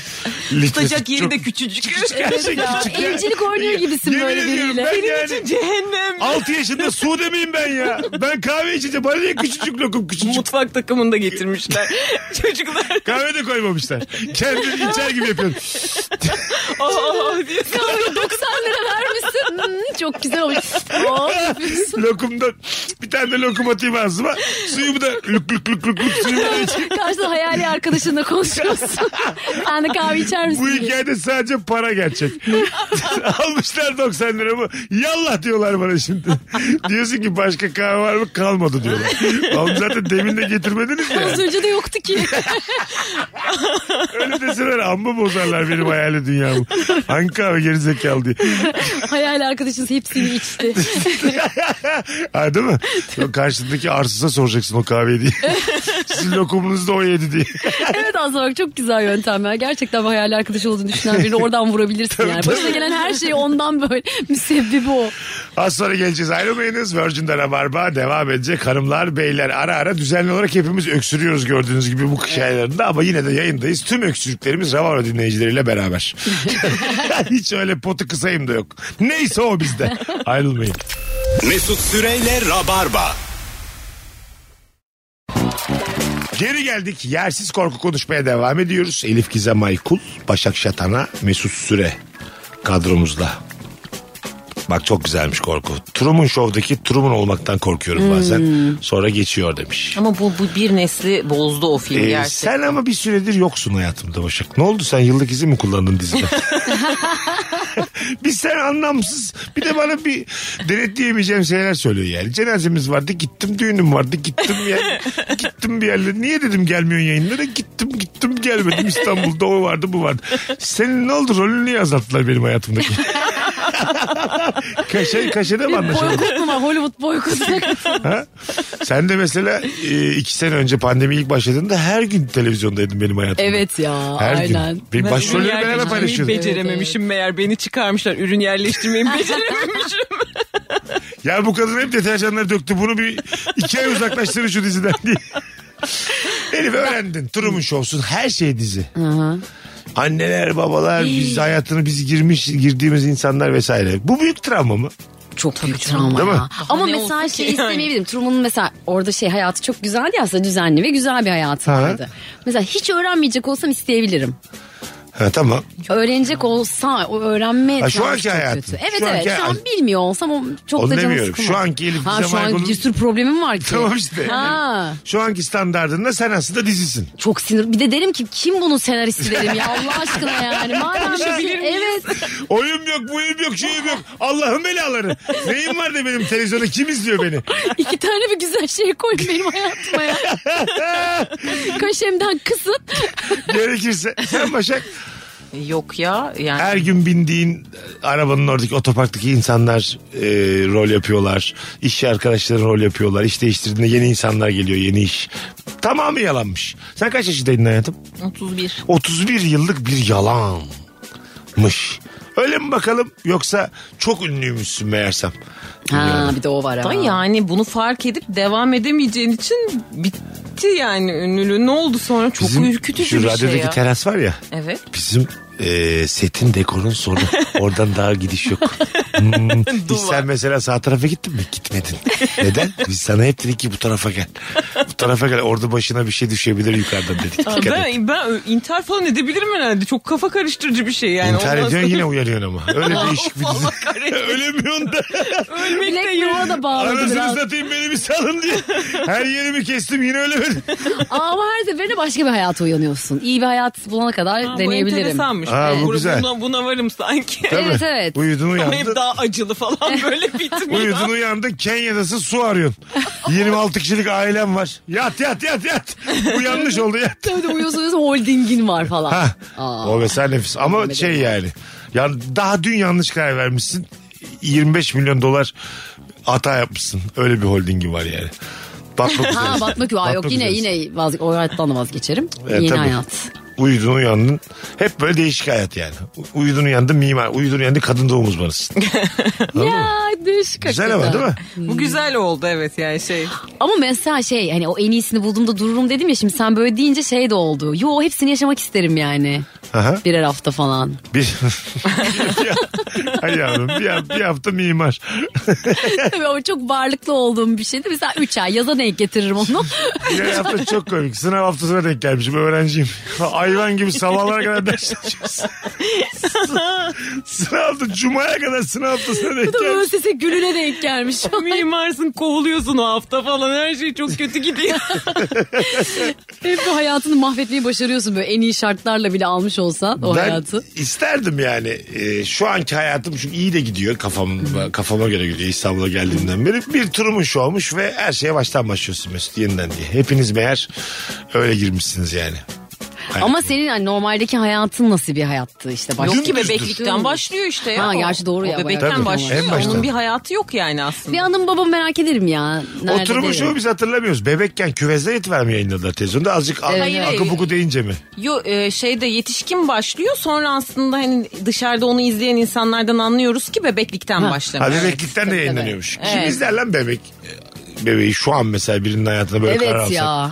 Speaker 3: litresi
Speaker 5: tutacak yeri
Speaker 3: çok
Speaker 5: de küçücük.
Speaker 3: Her şey küçük. ya.
Speaker 4: Evcilik oynuyor gibisin
Speaker 3: Yemin
Speaker 4: böyle
Speaker 3: ediyorum
Speaker 4: biriyle.
Speaker 3: Ben yani
Speaker 5: Cehennem.
Speaker 3: 6 yaşında Sude miyim ben ya? Ben kahve içeceğim. Bana niye küçücük lokum küçücük
Speaker 5: Mutfak
Speaker 3: *laughs*
Speaker 5: takımında getirmişler. Çocuklar
Speaker 3: kahve de koymamışlar. Kendini içer gibi yapıyorum.
Speaker 5: ah ah diye.
Speaker 4: 90 lira vermişsin. Hmm, çok güzel olmuş. Oo,
Speaker 3: *laughs* Lokumdan bir tane de lokum atayım ağzıma. Suyumu da lük lük lük lük, lük suyumu da içeyim.
Speaker 4: *laughs* Karşıda hayali arkadaşınla konuşuyorsun. *laughs* Sen de kahve içer misin?
Speaker 3: Bu
Speaker 4: diye.
Speaker 3: hikayede sadece para gerçek. Almışlar 90 liramı. Yallah diyorlar bana şimdi. Diyorsun ki başka kahve var mı? Kalmadı diyorlar. Oğlum zaten demin de getirmediniz ya.
Speaker 4: Az önce de yoktu
Speaker 3: *laughs*
Speaker 4: ki.
Speaker 3: Öyle deseler amma bozarlar benim hayali dünyamı. Hangi kahve gerizekalı diye.
Speaker 4: Hayali arkadaşınız hepsini içti.
Speaker 3: ha, değil mi? O karşındaki arsıza soracaksın o kahveyi diye. Sizin lokumunuzu da o yedi diye.
Speaker 4: evet aslında bak çok güzel yöntem ya. Gerçekten hayali arkadaşı olduğunu düşünen birini oradan vurabilirsin yani. Başına gelen her şey ondan böyle *laughs* müsebbibi o.
Speaker 3: Az sonra geleceğiz ayrılmayınız. Virgin'de Rabarba devam edecek. Hanımlar, beyler ara ara düzenli olarak hepimiz öksürüyoruz gördüğünüz gibi bu kış aylarında. Ama yine de yayındayız. Tüm öksürüklerimiz Rabarba dinleyicileriyle beraber. *laughs* Hiç öyle potu kısayım da yok. Neyse o bizde. Ayrılmayın.
Speaker 2: Mesut Süreyle Rabarba.
Speaker 3: Geri geldik. Yersiz korku konuşmaya devam ediyoruz. Elif Gizem Aykul, Başak Şatan'a, Mesut Süre kadromuzda. Bak çok güzelmiş korku. Truman Show'daki Truman olmaktan korkuyorum bazen. Sonra geçiyor demiş.
Speaker 5: Ama bu, bu bir nesli bozdu o film
Speaker 3: Ee,
Speaker 5: gerçekten.
Speaker 3: sen ama bir süredir yoksun hayatımda Başak. Ne oldu sen yıllık izin mi kullandın dizide? bir sen anlamsız bir de bana bir denetleyemeyeceğim şeyler söylüyor yani. Cenazemiz vardı gittim düğünüm vardı gittim yani gittim bir yerlere. Niye dedim gelmiyorsun yayınlara gittim gittim gelmedim İstanbul'da o vardı bu vardı. Senin ne oldu rolünü niye azalttılar benim hayatımdaki? Kaşe, kaşede mi anlaşıldı?
Speaker 4: Boykot mu var? Hollywood boykotu.
Speaker 3: Ha? Sen de mesela e, iki sene önce pandemi ilk başladığında her gün televizyondaydın benim hayatımda.
Speaker 4: *laughs* evet ya
Speaker 3: Her
Speaker 4: aynen.
Speaker 3: gün. Benim
Speaker 5: ürün
Speaker 3: başrolleri beraber
Speaker 5: yerleştirmeyi
Speaker 3: paylaşıyorduk.
Speaker 5: becerememişim meğer beni çıkarmışlar. Ürün yerleştirmeyi *laughs* becerememişim.
Speaker 3: Ya bu kadın hep deterjanları döktü. Bunu bir iki ay uzaklaştırın şu diziden diye. Elif öğrendin. Truman Show'sun. Her şey dizi. Anneler, babalar, biz hayatını biz girmiş, girdiğimiz insanlar vesaire. Bu büyük travma mı?
Speaker 4: Çok büyük travma
Speaker 3: Değil
Speaker 4: ya.
Speaker 3: mi?
Speaker 4: Ama
Speaker 5: ne
Speaker 4: mesela
Speaker 5: olsun
Speaker 4: şey
Speaker 5: ki yani?
Speaker 4: istemeyebilirim. Truman'ın mesela orada şey hayatı çok güzeldi ya aslında düzenli ve güzel bir hayatı
Speaker 3: Ha.
Speaker 4: vardı. Mesela hiç öğrenmeyecek olsam isteyebilirim.
Speaker 3: Ha, tamam.
Speaker 4: Öğrenecek olsa o öğrenme
Speaker 3: Ha, şu
Speaker 4: tarafı
Speaker 3: anki
Speaker 4: çok
Speaker 3: hayatın.
Speaker 4: kötü. Evet
Speaker 3: Şu
Speaker 4: evet
Speaker 3: anki
Speaker 4: şu an
Speaker 3: hayat-
Speaker 4: bilmiyor olsam o çok
Speaker 3: Onu
Speaker 4: da canım
Speaker 3: demiyorum.
Speaker 4: sıkılmaz.
Speaker 3: Şu anki Elif
Speaker 4: Ha,
Speaker 3: Gizem
Speaker 4: şu an
Speaker 3: Aygun'un-
Speaker 4: bir sürü problemim var ki.
Speaker 3: Tamam işte.
Speaker 4: Ha.
Speaker 3: Şu anki standartında sen aslında dizisin.
Speaker 4: Çok sinir. Bir de derim ki kim bunun senaristi derim ya Allah aşkına yani.
Speaker 3: *laughs*
Speaker 4: Madem
Speaker 5: Konuşabilir miyiz?
Speaker 4: Evet.
Speaker 3: Oyum yok, buyum yok, şeyim yok. Allah'ın belaları. Neyim var da benim televizyonda kim izliyor beni?
Speaker 4: İki tane bir güzel şey koy benim
Speaker 3: *laughs*
Speaker 4: hayatıma ya. Kaşemden kısıt.
Speaker 3: Gerekirse. Sen Başak
Speaker 5: E, Yok ya yani.
Speaker 3: her gün bindiğin arabanın oradaki otoparktaki insanlar e, rol yapıyorlar. İş arkadaşları rol yapıyorlar. İş değiştirdiğinde yeni insanlar geliyor, yeni iş. Tamamı yalanmış. Sen kaç yaşındaydın hayatım?
Speaker 5: 31.
Speaker 3: 31 yıllık bir yalanmış. Öyle mi bakalım yoksa çok ünlüymüşsün meğersem.
Speaker 4: Ha bir de o var
Speaker 5: Da
Speaker 4: ama.
Speaker 5: yani bunu fark edip devam edemeyeceğin için bitti yani ünlülüğü. Ne oldu sonra? Çok ürkütücü
Speaker 3: şu
Speaker 5: bir şey
Speaker 3: radyodaki
Speaker 5: ya.
Speaker 3: teras var ya.
Speaker 5: Evet.
Speaker 3: Bizim e, setin dekorun sonu.
Speaker 5: *laughs*
Speaker 3: Oradan daha gidiş yok. Hmm, hiç sen mesela sağ tarafa gittin mi? Gitmedin. Neden? Biz sana hep dedik ki bu tarafa gel. Bu tarafa gel. Orada başına bir şey düşebilir yukarıdan dedik. Dikkat et.
Speaker 5: ben, ben intihar falan edebilirim herhalde. Çok kafa karıştırıcı bir şey yani.
Speaker 3: İntihar
Speaker 5: Ondan
Speaker 3: ediyorsun
Speaker 5: sonra-
Speaker 3: yine uyanıyorsun ama. Öyle *laughs* değişik bir
Speaker 5: Allah
Speaker 3: dizi.
Speaker 5: kahretsin.
Speaker 3: Ölemiyorsun
Speaker 5: *laughs*
Speaker 3: da.
Speaker 4: Black Mirror'a da bağladı
Speaker 3: Anasını
Speaker 4: biraz.
Speaker 3: satayım beni bir salın diye. Her yerimi kestim yine ölemedim.
Speaker 4: Ama her seferinde başka bir hayata uyanıyorsun. İyi bir hayat bulana kadar
Speaker 5: Aa, bu
Speaker 4: deneyebilirim.
Speaker 5: enteresanmış.
Speaker 3: Aa, bu
Speaker 5: Buna-
Speaker 3: güzel.
Speaker 5: Buna, buna varım sanki.
Speaker 4: Evet evet.
Speaker 3: Uyudun
Speaker 5: Ama hep
Speaker 3: uyandın.
Speaker 5: daha acılı falan böyle bitmiyor.
Speaker 3: Uyudun uyandın Kenya'dasın su
Speaker 5: *laughs*
Speaker 3: arıyorsun. 26 kişilik ailem var. Yat yat yat yat. Bu yanlış oldu yat.
Speaker 4: Tabii de uyuyorsun uyuyorsun holdingin var falan.
Speaker 3: Ha.
Speaker 4: Aa.
Speaker 3: O mesela nefis. Ama
Speaker 4: Bilmedim
Speaker 3: şey yani. Ya daha dün yanlış karar vermişsin. 25 milyon dolar hata yapmışsın. Öyle bir holdingi var yani. Batmak
Speaker 4: *laughs* Ha
Speaker 3: üzeresin.
Speaker 4: batmak yok. Aa, yok
Speaker 3: Batmak
Speaker 4: yine
Speaker 3: üzeresin.
Speaker 4: yine vaz o hayattan da vazgeçerim.
Speaker 3: Şey. E,
Speaker 4: Yeni
Speaker 3: tabii.
Speaker 4: hayat.
Speaker 3: Uyudun uyandın. Hep böyle değişik hayat yani. U- Uyudun uyandın mimar. Uyudun uyandın kadın doğum uzmanısın.
Speaker 4: *laughs*
Speaker 3: Anladın mı?
Speaker 4: Ya düşük
Speaker 3: Güzel ama
Speaker 4: hakikaten.
Speaker 3: değil mi?
Speaker 5: Bu güzel oldu evet yani *laughs* şey.
Speaker 4: Ama mesela şey hani o en iyisini bulduğumda dururum dedim ya şimdi sen böyle deyince şey de oldu. Yo hepsini yaşamak isterim yani.
Speaker 3: Aha.
Speaker 4: Birer hafta falan.
Speaker 3: Bir, *laughs* bir, *laughs* Ay yavrum, bir, bir hafta mimar.
Speaker 4: Tabii ama çok varlıklı olduğum bir şeydi. Mesela 3 ay yaza denk getiririm *laughs* onu.
Speaker 3: Bir hafta çok komik. Sınav haftasına denk gelmişim. Öğrenciyim.
Speaker 4: *laughs*
Speaker 3: Hayvan gibi sabahlara kadar ders çalışıyoruz. sınav haftası, cumaya kadar sınav haftasına denk
Speaker 4: Tabii
Speaker 3: gelmişim.
Speaker 4: ÖSS gününe denk gelmiş.
Speaker 5: Mimarsın kovuluyorsun o hafta falan her şey *laughs* çok kötü gidiyor.
Speaker 4: *laughs* Hep bu hayatını mahvetmeyi başarıyorsun böyle en iyi şartlarla bile almış olsan o
Speaker 3: ben
Speaker 4: hayatı.
Speaker 3: isterdim yani e, şu anki hayatım çünkü iyi de gidiyor kafama, kafama göre gidiyor İstanbul'a geldiğimden beri bir turumun şu olmuş ve her şeye baştan başlıyorsun Mesut yeniden diye. Hepiniz meğer öyle girmişsiniz yani.
Speaker 4: Ama senin hani normaldeki hayatın nasıl bir hayattı işte başka.
Speaker 5: Yok ki
Speaker 3: Dümdüzdür.
Speaker 5: bebeklikten başlıyor işte ya.
Speaker 4: Ha,
Speaker 5: o.
Speaker 4: gerçi doğru
Speaker 5: O
Speaker 4: ya,
Speaker 5: Bebekten
Speaker 3: bayağı.
Speaker 5: başlıyor.
Speaker 3: En baştan.
Speaker 5: Onun bir hayatı yok yani aslında.
Speaker 4: Bir anım babam merak ederim ya. Nerede
Speaker 3: Oturumu
Speaker 4: derim.
Speaker 3: şu biz hatırlamıyoruz. Bebekken küvezde et vermeye yayınladılar televizyonda. Azıcık ak-
Speaker 4: Evet,
Speaker 5: evet.
Speaker 3: akı buku deyince mi?
Speaker 5: Yo e, şeyde yetişkin başlıyor sonra aslında hani dışarıda onu izleyen insanlardan anlıyoruz ki bebeklikten başlamış.
Speaker 3: Ha bebeklikten de yayınlanıyormuş. Kim
Speaker 5: Evet.
Speaker 3: izler lan bebek? Bebeği şu an mesela birinin hayatına böyle karar
Speaker 4: Evet
Speaker 3: alsak.
Speaker 4: ya.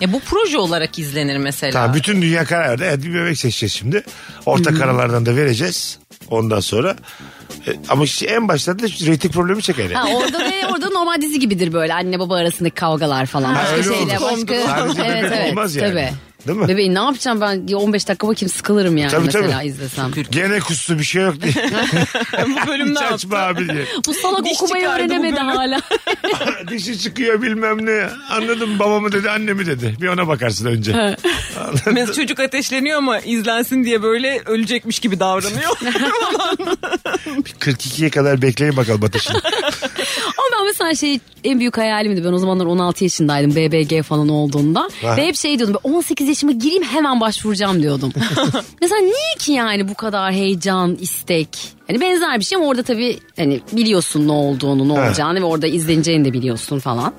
Speaker 5: E, bu proje olarak izlenir mesela.
Speaker 3: Tamam bütün dünya karar verdi. Evet bir bebek seçeceğiz şimdi. Orta
Speaker 4: Hmm.
Speaker 3: kararlardan da vereceğiz. Ondan sonra. E, ama işte en başta da şu reyting problemi çeker. yani.
Speaker 4: Ha, orada ne orada normal dizi gibidir böyle anne baba arasındaki kavgalar falan.
Speaker 3: Ha,
Speaker 4: başka
Speaker 3: öyle
Speaker 4: şeyler
Speaker 3: olur.
Speaker 4: başka.
Speaker 3: Sadece bebek olmaz yani. Değil mi?
Speaker 4: Bebeği ne yapacağım ben Ya 15 dakika bakayım sıkılırım yani
Speaker 3: Tabii,
Speaker 4: mesela
Speaker 3: tabii.
Speaker 4: izlesem.
Speaker 3: Gene kustu bir şey yok
Speaker 4: *laughs*
Speaker 3: diye.
Speaker 5: bu bölüm
Speaker 3: Hiç *laughs*
Speaker 5: ne
Speaker 3: açma
Speaker 5: yaptı?
Speaker 3: abi diye.
Speaker 4: Bu salak
Speaker 5: Diş
Speaker 4: okumayı
Speaker 5: çıkardı bu
Speaker 4: öğrenemedi
Speaker 5: bölüm.
Speaker 4: hala.
Speaker 3: Dişi çıkıyor bilmem ne. Anladım babamı dedi annemi dedi. Bir ona bakarsın önce.
Speaker 5: Mesela çocuk ateşleniyor ama izlensin diye böyle ölecekmiş gibi *laughs* davranıyor.
Speaker 3: 42'ye kadar bekleyin bakalım ateşini.
Speaker 4: Ama ben mesela şey en büyük hayalimdi. Ben o zamanlar 16 yaşındaydım BBG falan olduğunda.
Speaker 3: Ha.
Speaker 4: Ve hep şey diyordum. böyle 18 yaşıma gireyim hemen
Speaker 3: *laughs*
Speaker 4: başvuracağım diyordum. mesela niye ki yani bu kadar heyecan, istek? Hani benzer bir şey ama orada tabii hani biliyorsun ne olduğunu, ne
Speaker 3: Ha.
Speaker 4: olacağını ve orada izleneceğini de biliyorsun falan.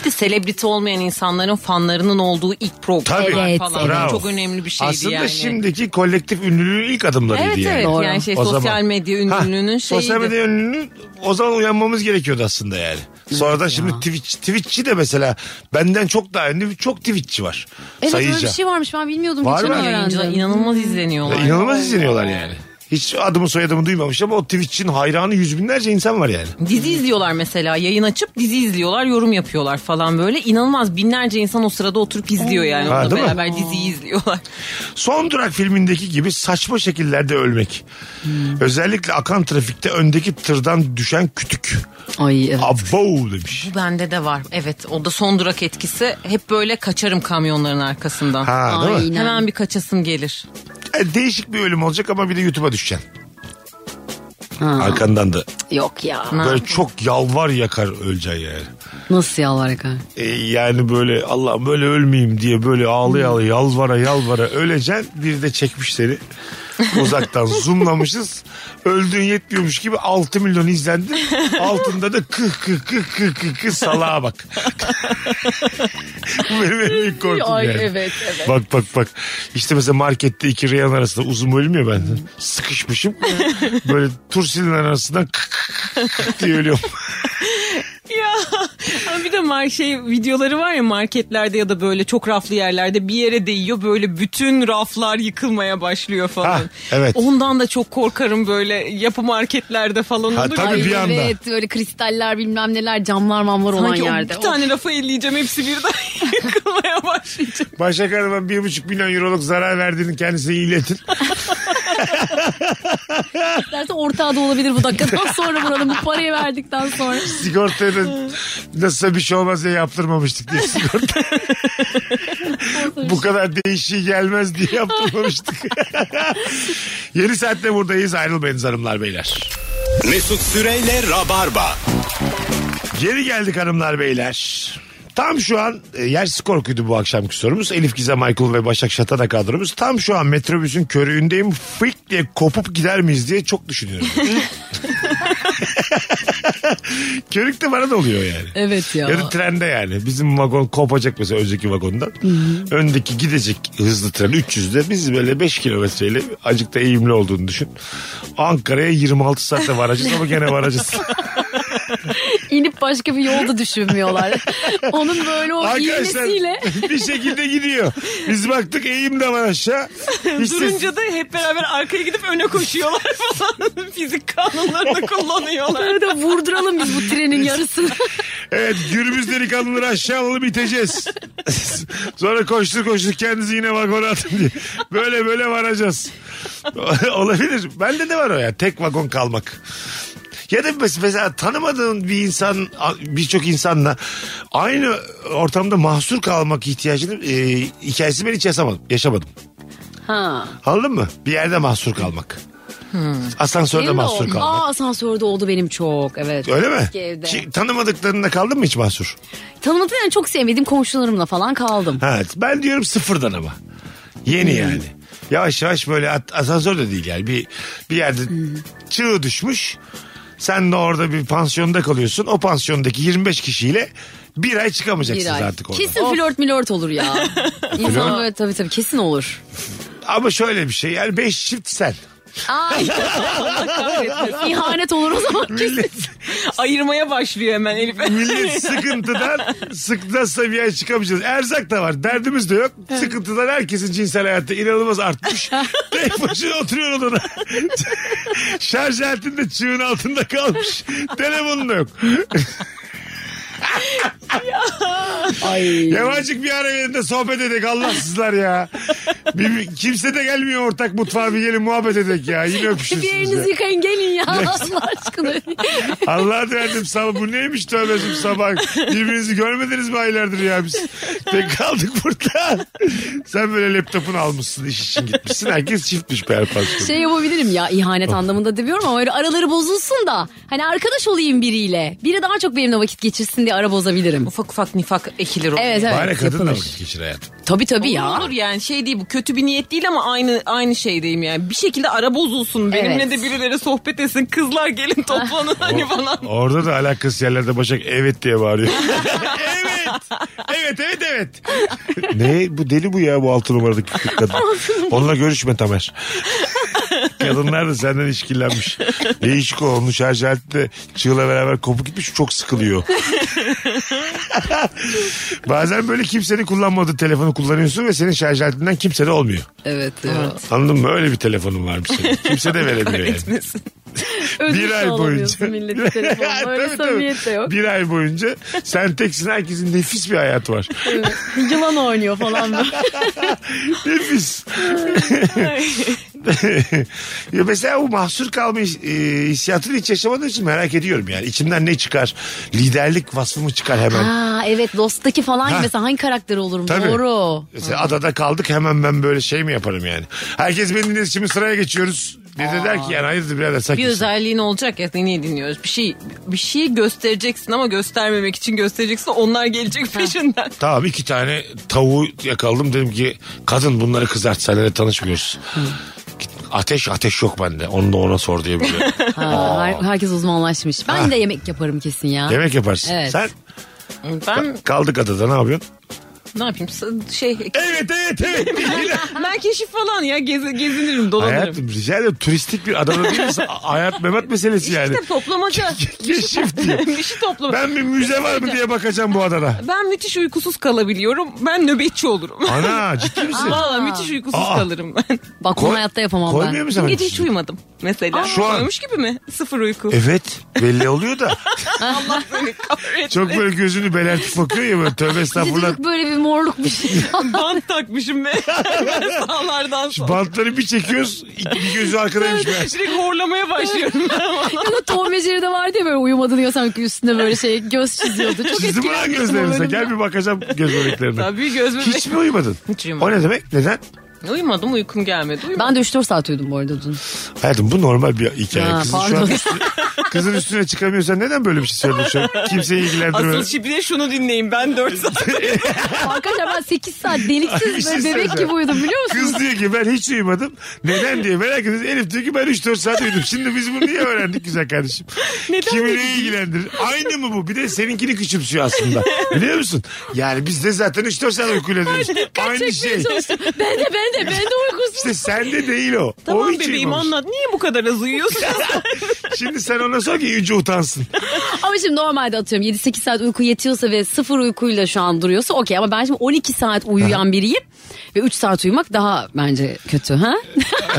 Speaker 5: Bir de selebriti olmayan insanların fanlarının olduğu ilk program
Speaker 3: Tabii.
Speaker 4: Evet,
Speaker 5: falan.
Speaker 4: evet.
Speaker 5: Çok önemli bir şeydi
Speaker 3: Aslında
Speaker 5: yani.
Speaker 3: şimdiki kolektif ünlülüğün ilk adımlarıydı
Speaker 5: Evet
Speaker 3: yani.
Speaker 5: evet
Speaker 4: Doğru.
Speaker 5: yani şey
Speaker 3: O
Speaker 5: sosyal
Speaker 3: zaman.
Speaker 5: medya ünlülüğünün
Speaker 3: Ha,
Speaker 5: şeyi.
Speaker 3: Sosyal medya ünlülüğünün o zaman uyanmamız gerekiyordu aslında yani. Sonradan şimdi Twitch, Twitch'çi de mesela benden çok daha ünlü bir çok Twitch'çi var.
Speaker 4: Evet
Speaker 3: Sayıca.
Speaker 4: öyle bir şey varmış ben bilmiyordum.
Speaker 3: Var
Speaker 4: Geçen
Speaker 3: mı?
Speaker 4: öğrendim.
Speaker 5: inanılmaz izleniyorlar.
Speaker 3: İnanılmaz izleniyorlar yani. Hiç adımı soyadımı duymamış ama o Twitch'in hayranı yüz binlerce insan var yani.
Speaker 5: Dizi izliyorlar mesela yayın açıp dizi izliyorlar yorum yapıyorlar falan böyle inanılmaz binlerce insan o sırada oturup izliyor yani
Speaker 3: Ha,
Speaker 5: onunla
Speaker 3: değil mi?
Speaker 5: beraber diziyi izliyorlar.
Speaker 3: Son Durak filmindeki gibi saçma şekillerde ölmek.
Speaker 4: Hmm.
Speaker 3: Özellikle akan trafikte öndeki tırdan düşen kütük.
Speaker 4: Ay evet.
Speaker 3: Abo demiş.
Speaker 5: Bu bende de var evet o da son durak etkisi hep böyle kaçarım kamyonların arkasından.
Speaker 3: Ha, değil mi?
Speaker 4: Aynen.
Speaker 5: Hemen bir kaçasım gelir.
Speaker 3: E, Değişik bir ölüm olacak ama bir de YouTube'a düşeceksin.
Speaker 4: Ha,
Speaker 3: Arkandan da.
Speaker 4: Yok ya.
Speaker 3: Böyle çok yalvar yakar öleceksin yani.
Speaker 4: Nasıl yalvarık ha?
Speaker 3: E, yani böyle Allah böyle ölmeyeyim diye böyle ağlaya
Speaker 4: Hmm.
Speaker 3: ağlaya yalvara yalvara öleceksin. Bir de çekmiş
Speaker 4: *laughs*
Speaker 3: seni uzaktan zoomlamışız. Öldüğün yetmiyormuş gibi 6 milyon izlendi. Altında da kıh kıh kıh kıh kıh kıh salağa
Speaker 4: *laughs*
Speaker 3: bak. Bu benim en büyük korkum
Speaker 4: Ay,
Speaker 3: yani.
Speaker 4: evet, evet.
Speaker 3: Bak bak bak. İşte mesela markette iki reyan arasında uzun bölüm ya ben. Sıkışmışım. Böyle tursilin arasından kıh kıh kıh kıh diye ölüyorum.
Speaker 5: Ya Sonra bir de mar şey videoları var ya marketlerde ya da böyle çok raflı yerlerde bir yere değiyor böyle bütün raflar yıkılmaya başlıyor falan.
Speaker 3: Ha, evet.
Speaker 5: Ondan da çok korkarım böyle yapı marketlerde falan
Speaker 3: Ha,
Speaker 5: olur.
Speaker 3: tabii
Speaker 5: ya.
Speaker 3: bir anda.
Speaker 4: Evet böyle kristaller bilmem neler camlar mamlar olan
Speaker 5: Sanki o
Speaker 4: yerde.
Speaker 5: bir tane rafa elleyeceğim hepsi birden *laughs* yıkılmaya başlayacak.
Speaker 3: Başak Hanım'a bir buçuk milyon euroluk zarar verdiğini kendisine iletin.
Speaker 4: Of, derse ortağı da olabilir bu dakikadan *laughs* sonra buranın bu parayı verdikten sonra.
Speaker 3: Sigortaya da nasılsa bir şey olmaz diye yaptırmamıştık diye sigorta. Bu kadar değişiği gelmez diye yaptırmamıştık. Yeni saatte buradayız ayrılmayınız hanımlar beyler.
Speaker 2: Mesut Süreyle Rabarba.
Speaker 3: Geri geldik hanımlar beyler. Tam şu an e, yersiz korkuydu bu akşamki sorumuz. Elif Gizem Aykul ve Başak Şatan'a kadromuz. Tam şu an metrobüsün körüğündeyim. Fık diye kopup gider miyiz diye çok düşünüyorum. *laughs* Körük de bana da oluyor yani.
Speaker 4: Evet ya.
Speaker 3: Ya da trende yani. Bizim vagon kopacak mesela önceki vagondan. Öndeki gidecek hızlı tren 300'de biz böyle 5 kilometreyle acıkta eğimli olduğunu düşün. Ankara'ya 26 saatte varacağız ama gene
Speaker 4: *laughs*
Speaker 3: varacağız.
Speaker 4: İnip başka bir yolda *laughs* düşünmüyorlar. Onun böyle o
Speaker 3: Arkadaşlar
Speaker 4: iğnesiyle.
Speaker 3: *laughs* bir şekilde gidiyor. Biz baktık eğim de var
Speaker 4: *laughs*
Speaker 3: aşağı. Hiç ses-
Speaker 5: Durunca da hep beraber arkaya gidip öne koşuyorlar *laughs* falan. Fizik
Speaker 3: *laughs*
Speaker 5: kanunlarını kullanıyorlar.
Speaker 4: Böyle vurduralım biz bu trenin yarısını.
Speaker 3: Evet gürbüz delikanlıları aşağı alalım
Speaker 4: *laughs*
Speaker 3: iteceğiz. Sonra koştur koştur kendinizi yine vagona atın diye. Böyle böyle varacağız. *laughs* Olabilir. Bende de var o ya. Tek vagon kalmak. Ya da mes- mesela tanımadığın bir insan birçok insanla aynı ortamda mahsur kalmak ihtiyacını e, hikayesi ben hiç yaşamadım. yaşamadım.
Speaker 4: *laughs* Ha.
Speaker 3: Anladın mı? Bir yerde mahsur kalmak. Asansörde
Speaker 4: Benim de
Speaker 3: mahsur
Speaker 4: oldu.
Speaker 3: kalmak.
Speaker 4: Aa asansörde oldu benim çok evet.
Speaker 3: Öyle mi?
Speaker 4: Eski Ah, evde.
Speaker 3: Ki- Tanımadıklarında kaldın mı hiç mahsur?
Speaker 4: Tanımadığım yani çok sevmediğim komşularımla falan kaldım.
Speaker 3: Ha, ben diyorum sıfırdan ama. Yeni
Speaker 4: Hmm.
Speaker 3: yani. Yavaş yavaş böyle at- asansör de değil yani. Bir, bir yerde
Speaker 4: Hmm.
Speaker 3: çığ düşmüş. Sen de orada bir pansiyonda kalıyorsun. O pansiyondaki 25 kişiyle bir ay çıkamayacaksınız
Speaker 4: Bir ay.
Speaker 3: artık oradan.
Speaker 4: Kesin flört milört olur
Speaker 3: *laughs*
Speaker 4: ya. İnsan böyle tabii tabii kesin olur.
Speaker 3: Ama şöyle bir şey yani 5 çift sen.
Speaker 4: *laughs* Ay. İhanet olur o zaman.
Speaker 3: Millet, *laughs*
Speaker 5: Ayırmaya başlıyor hemen Elif.
Speaker 3: millet sıkıntıdan sıkıntıdan bir ay çıkamayacağız. Erzak da var derdimiz de yok. Sıkıntıdan herkesin cinsel hayatı inanılmaz artmış. Tek başına oturuyor odada. Şarj aletinde çığın altında kalmış. Telefonun da yok.
Speaker 4: Ay.
Speaker 3: Yavaşçık bir ara verin de sohbet edek Allahsızlar ya. Bir- bir- kimse de gelmiyor ortak mutfağa bir gelin muhabbet edek ya. Yine
Speaker 4: Bir
Speaker 3: öpüşürsünüz ya.
Speaker 4: elinizi yıkayın gelin ya *laughs* Allah aşkına.
Speaker 3: Allah derdim sabah bu neymiş tövbesim sabah. Birbirinizi görmediniz mi aylardır ya biz? Tek kaldık burada. Sen böyle laptopunu almışsın iş için gitmişsin. Herkes çiftmiş be Erpans'ın.
Speaker 4: Şey yapabilirim ya ihanet anlamında demiyorum ama öyle araları bozulsun da hani arkadaş olayım biriyle. Biri daha çok benimle vakit geçirsin diye ara bozabilirim.
Speaker 5: *laughs* Ufak ufak nifak ekilir o.
Speaker 4: Evet evet
Speaker 3: Bari kadınla
Speaker 4: yapılır.
Speaker 3: vakit geçir hayatım.
Speaker 4: Tabii tabii
Speaker 5: Olur,
Speaker 4: ya.
Speaker 5: Olur yani şey değil bu kötü bir niyet değil ama aynı aynı şeydeyim yani. Bir şekilde ara bozulsun benimle
Speaker 4: Evet. Ah.
Speaker 5: de birileri sohbet etsin kızlar gelin toplanın hani falan.
Speaker 3: Orada da alakası yerlerde Başak evet diye bağırıyor. *laughs* evet. Evet evet evet. ne bu deli bu ya bu altı numaradaki küçük kadın. Onunla görüşme Tamer. Kadınlar da senden işkillenmiş. Değişik o onun şarj aleti de çığla beraber kopuk gitmiş çok *laughs* sıkılıyor. Bazen böyle kimsenin kullanmadığı telefonu kullanıyorsun ve senin şarj aletinden kimse de olmuyor.
Speaker 4: Evet. ya.
Speaker 3: Anladın mı? Öyle bir telefonun varmış senin. Kimse de veremiyor yani.
Speaker 5: Etmesin.
Speaker 4: Ödül
Speaker 3: bir
Speaker 4: şey
Speaker 3: ay boyunca. *laughs*
Speaker 4: alamıyorsun milletin telefonuna. Öyle
Speaker 3: Tabii, tabii.
Speaker 4: samimiyet de yok.
Speaker 3: Bir ay boyunca sen teksin herkesin nefis bir hayatı
Speaker 4: *laughs*
Speaker 3: var.
Speaker 4: Yılan oynuyor falan böyle.
Speaker 3: *laughs* nefis. *laughs* ya mesela bu mahsur kalma his- e, hissiyatını hiç yaşamadığım için merak ediyorum yani. İçimden ne çıkar? Liderlik vasfı mı çıkar hemen?
Speaker 4: Ha evet Lost'taki falan gibi
Speaker 3: Ha.
Speaker 4: mesela hangi karakter olurum
Speaker 3: Tabii.
Speaker 4: doğru.
Speaker 3: Mesela adada kaldık hemen ben böyle şey mi yaparım yani? Herkes beni dinlesin şimdi sıraya geçiyoruz. Bir de der ki yani hayırdır birader sen
Speaker 5: Bir
Speaker 3: kimsin?
Speaker 5: özelliğin olacak ya niye dinliyoruz? Bir şey bir şey göstereceksin ama göstermemek için göstereceksin onlar gelecek peşinden.
Speaker 3: Tamam iki tane tavuğu yakaladım dedim ki kadın bunları kızart seninle tanışmıyoruz. Git- Ateş ateş yok bende. Onu da ona sor diye *laughs* böyle.
Speaker 4: Ha, her- herkes uzmanlaşmış. Ben
Speaker 3: Ha.
Speaker 4: de yemek yaparım kesin ya.
Speaker 3: Yemek yaparsın.
Speaker 4: Evet.
Speaker 3: Sen
Speaker 5: Ben
Speaker 3: kaldık adada ne yapıyorsun?
Speaker 5: ne yapayım S- şey
Speaker 3: Evet evet evet. *laughs* Yine-
Speaker 5: ben keşif falan ya gez- gezinirim dolanırım.
Speaker 3: Hayatım rica ederim turistik bir adam değil *laughs* misin? Hayat memat meselesi
Speaker 5: İşte
Speaker 3: yani.
Speaker 5: toplamaca. Bir şey-
Speaker 3: Keşif diyor.
Speaker 5: *laughs* bir şey toplama. Ben...
Speaker 3: Ben bir müze var mı diye bakacağım bu adada.
Speaker 5: müthiş uykusuz kalabiliyorum. Ben nöbetçi olurum.
Speaker 3: Ana ciddi misin?
Speaker 5: Valla müthiş uykusuz
Speaker 3: Aa.
Speaker 5: kalırım ben.
Speaker 4: Bak
Speaker 3: Koy-
Speaker 4: bunu hayatta yapamam ben.
Speaker 3: Koymuyor mu
Speaker 5: Dün
Speaker 3: sana?
Speaker 5: gece hiç uyumadım mesela.
Speaker 3: Şu an-
Speaker 5: Uyumuş gibi mi? Sıfır uyku. *laughs* Hani
Speaker 3: Evet belli oluyor da.
Speaker 5: Kahretsin.
Speaker 3: Çok *laughs* böyle gözünü belertip bakıyor ya böyle tövbe estağfurullah.
Speaker 4: Çocuk böyle bir morluk bir şey.
Speaker 3: *laughs*
Speaker 5: Bant takmışım ben. ben *laughs* sağlardan
Speaker 3: Şu
Speaker 5: sonra.
Speaker 3: bantları bir çekiyoruz bir gözü arkadaymış meğer.
Speaker 5: Direkt horlamaya başlıyorum.
Speaker 4: Ama Tom ve Jerry'de vardı ya böyle uyumadı diyor sanki üstünde böyle şey göz çiziyordu. Çok
Speaker 3: Çizdi mi lan
Speaker 4: etkilenmiştim o
Speaker 3: gözlerinize?
Speaker 4: bölümden.
Speaker 3: Gel bir bakacağım göz bebeklerine.
Speaker 5: *laughs* Tabii göz bebeği.
Speaker 3: Hiç mi uyumadın?
Speaker 5: Hiç uyumadım.
Speaker 3: O ne demek? Neden?
Speaker 5: Uyumadım uykum gelmedi. Uyumadım.
Speaker 4: Ben de 3-4 saat uyudum bu arada dün.
Speaker 3: Hayatım bu normal bir hikaye.
Speaker 4: Ha,
Speaker 3: kızın, şu an
Speaker 4: pardon.
Speaker 3: üstüne, kızın üstüne çıkamıyorsan neden böyle bir şey söyledin şu an? Kimseyi ilgilendirmeden.
Speaker 5: Asıl şey- şimdi de şunu dinleyin ben 4 saat.
Speaker 4: *laughs* Arkadaşlar ben 8 saat
Speaker 3: Ay, bir
Speaker 4: deliksiz
Speaker 3: şey
Speaker 4: böyle bebek
Speaker 3: söyleyeceğim.
Speaker 4: gibi uyudum biliyor musunuz?
Speaker 3: Kız diyor ki ben hiç uyumadım. Neden diye merak ediyoruz. Elif diyor ki ben 3-4 saat uyudum. Şimdi biz bunu niye öğrendik güzel kardeşim?
Speaker 5: *laughs* Neden
Speaker 3: Kimi
Speaker 5: dedin?
Speaker 3: ne ilgilendirir? Aynı mı bu? Bir de seninkini küçümsüyor aslında. Biliyor musun? Yani biz de zaten 3-4 saat uykuyla diyoruz. Aynı şey.
Speaker 4: Çalıştım. Ben de ben de ben de uykusuz.
Speaker 3: İşte sende değil o. o
Speaker 5: Tamam
Speaker 3: hiç
Speaker 5: bebeğim
Speaker 3: uyumamış.
Speaker 5: anlat niye bu kadar
Speaker 3: *laughs*
Speaker 5: az uyuyorsun?
Speaker 3: Şimdi sen ona sor ki yüce utansın.
Speaker 4: Ama şimdi normalde atıyorum 7-8 saat uyku yetiyorsa ve sıfır uykuyla şu an duruyorsa okey. Ama ben şimdi 12 saat uyuyan biriyim ve 3 saat uyumak daha bence kötü. Ha? *laughs*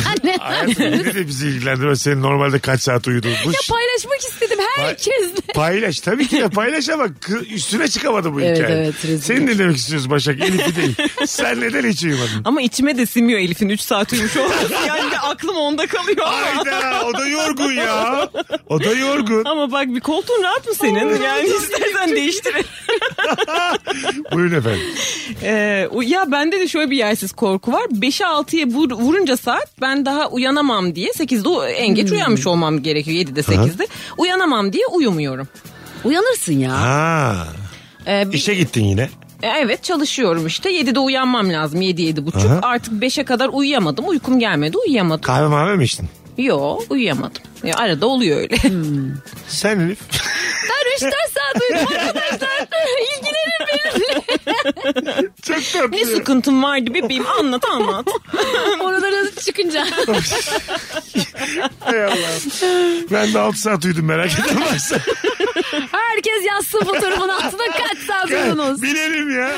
Speaker 4: Hani Ne?
Speaker 3: *laughs* Hayatım yine de bizi ilgilendirmez. Senin normalde kaç saat uyuduğun. Bu ş-
Speaker 4: Paylaşmak istedim herkesle.
Speaker 3: Paylaş tabii ki de paylaş ama kı- üstüne çıkamadı bu
Speaker 4: Evet,
Speaker 3: hikaye.
Speaker 4: evet, rezil.
Speaker 3: Senin ne demek istiyorsun Başak? Elif'i değil. Sen neden hiç uyumadın?
Speaker 5: Ama içime de simiyor Elif'in 3 saat uyumuş olması. *laughs* Yani bir aklım onda kalıyor ama.
Speaker 3: *laughs* Hayda o da yorgun ya. O da yorgun.
Speaker 5: Ama bak bir koltuğun rahat mı senin? Yani istersen değiştir.
Speaker 3: Buyurun efendim.
Speaker 5: Ee, u- ya bende de şöyle bir yersiz korku var. 5'e 6'ya vur, vurunca saat ben daha uyanamam diye 8'de u- en geç uyanmış olmam gerekiyor 7'de 8'de. Uyanamam diye uyumuyorum.
Speaker 4: Uyanırsın ya.
Speaker 3: Ha,
Speaker 5: Ee, bir-
Speaker 3: işe gittin yine.
Speaker 5: E, Evet çalışıyorum işte 7'de uyanmam lazım 7 7 buçuk
Speaker 3: Aha.
Speaker 5: artık 5'e kadar uyuyamadım uykum gelmedi uyuyamadım.
Speaker 3: Kahve mahve mi içtin?
Speaker 5: Yo uyuyamadım. Ya, arada oluyor öyle.
Speaker 3: Sen Elif. *laughs*
Speaker 4: Ben 3 saat uyudum. Arkadaşlar ilgilenin benimle.
Speaker 3: Çok tatlı.
Speaker 5: ne sıkıntın vardı bebeğim anlat anlat.
Speaker 4: Oralara çıkınca.
Speaker 3: Hay Allah. Ben de 6 saat uyudum merak etme
Speaker 4: *laughs*
Speaker 3: varsa.
Speaker 4: Herkes yazsın fotoğrafın altına kaç saat uyudunuz.
Speaker 3: Bilelim ya.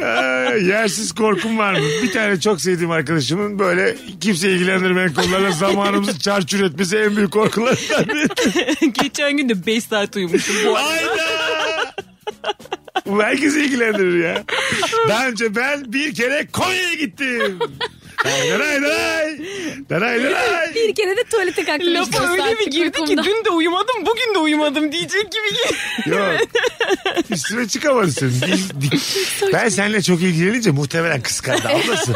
Speaker 3: Ee, yersiz korkum var mı? Bir tane çok sevdiğim arkadaşımın böyle kimse ilgilendirmeyen konularla zamanımızı çarçur etmesi en büyük korkularından biri.
Speaker 5: *laughs* Geçen gün de 5 saat *laughs* uyumuşum bu arada.
Speaker 3: Hayda. Bu herkesi ilgilendirir ya. Daha önce ben bir kere Konya'ya gittim. Daray daray daray. Daray daray.
Speaker 4: Bir kere de tuvalete kalktım.
Speaker 5: Lafa öyle bir girdi ki dün de uyumadım bugün de uyumadım diyecek *laughs* gibi.
Speaker 3: Yok. Üstüme çıkamadın. Ben seninle çok ilgilenince muhtemelen kıskandı. Ablası.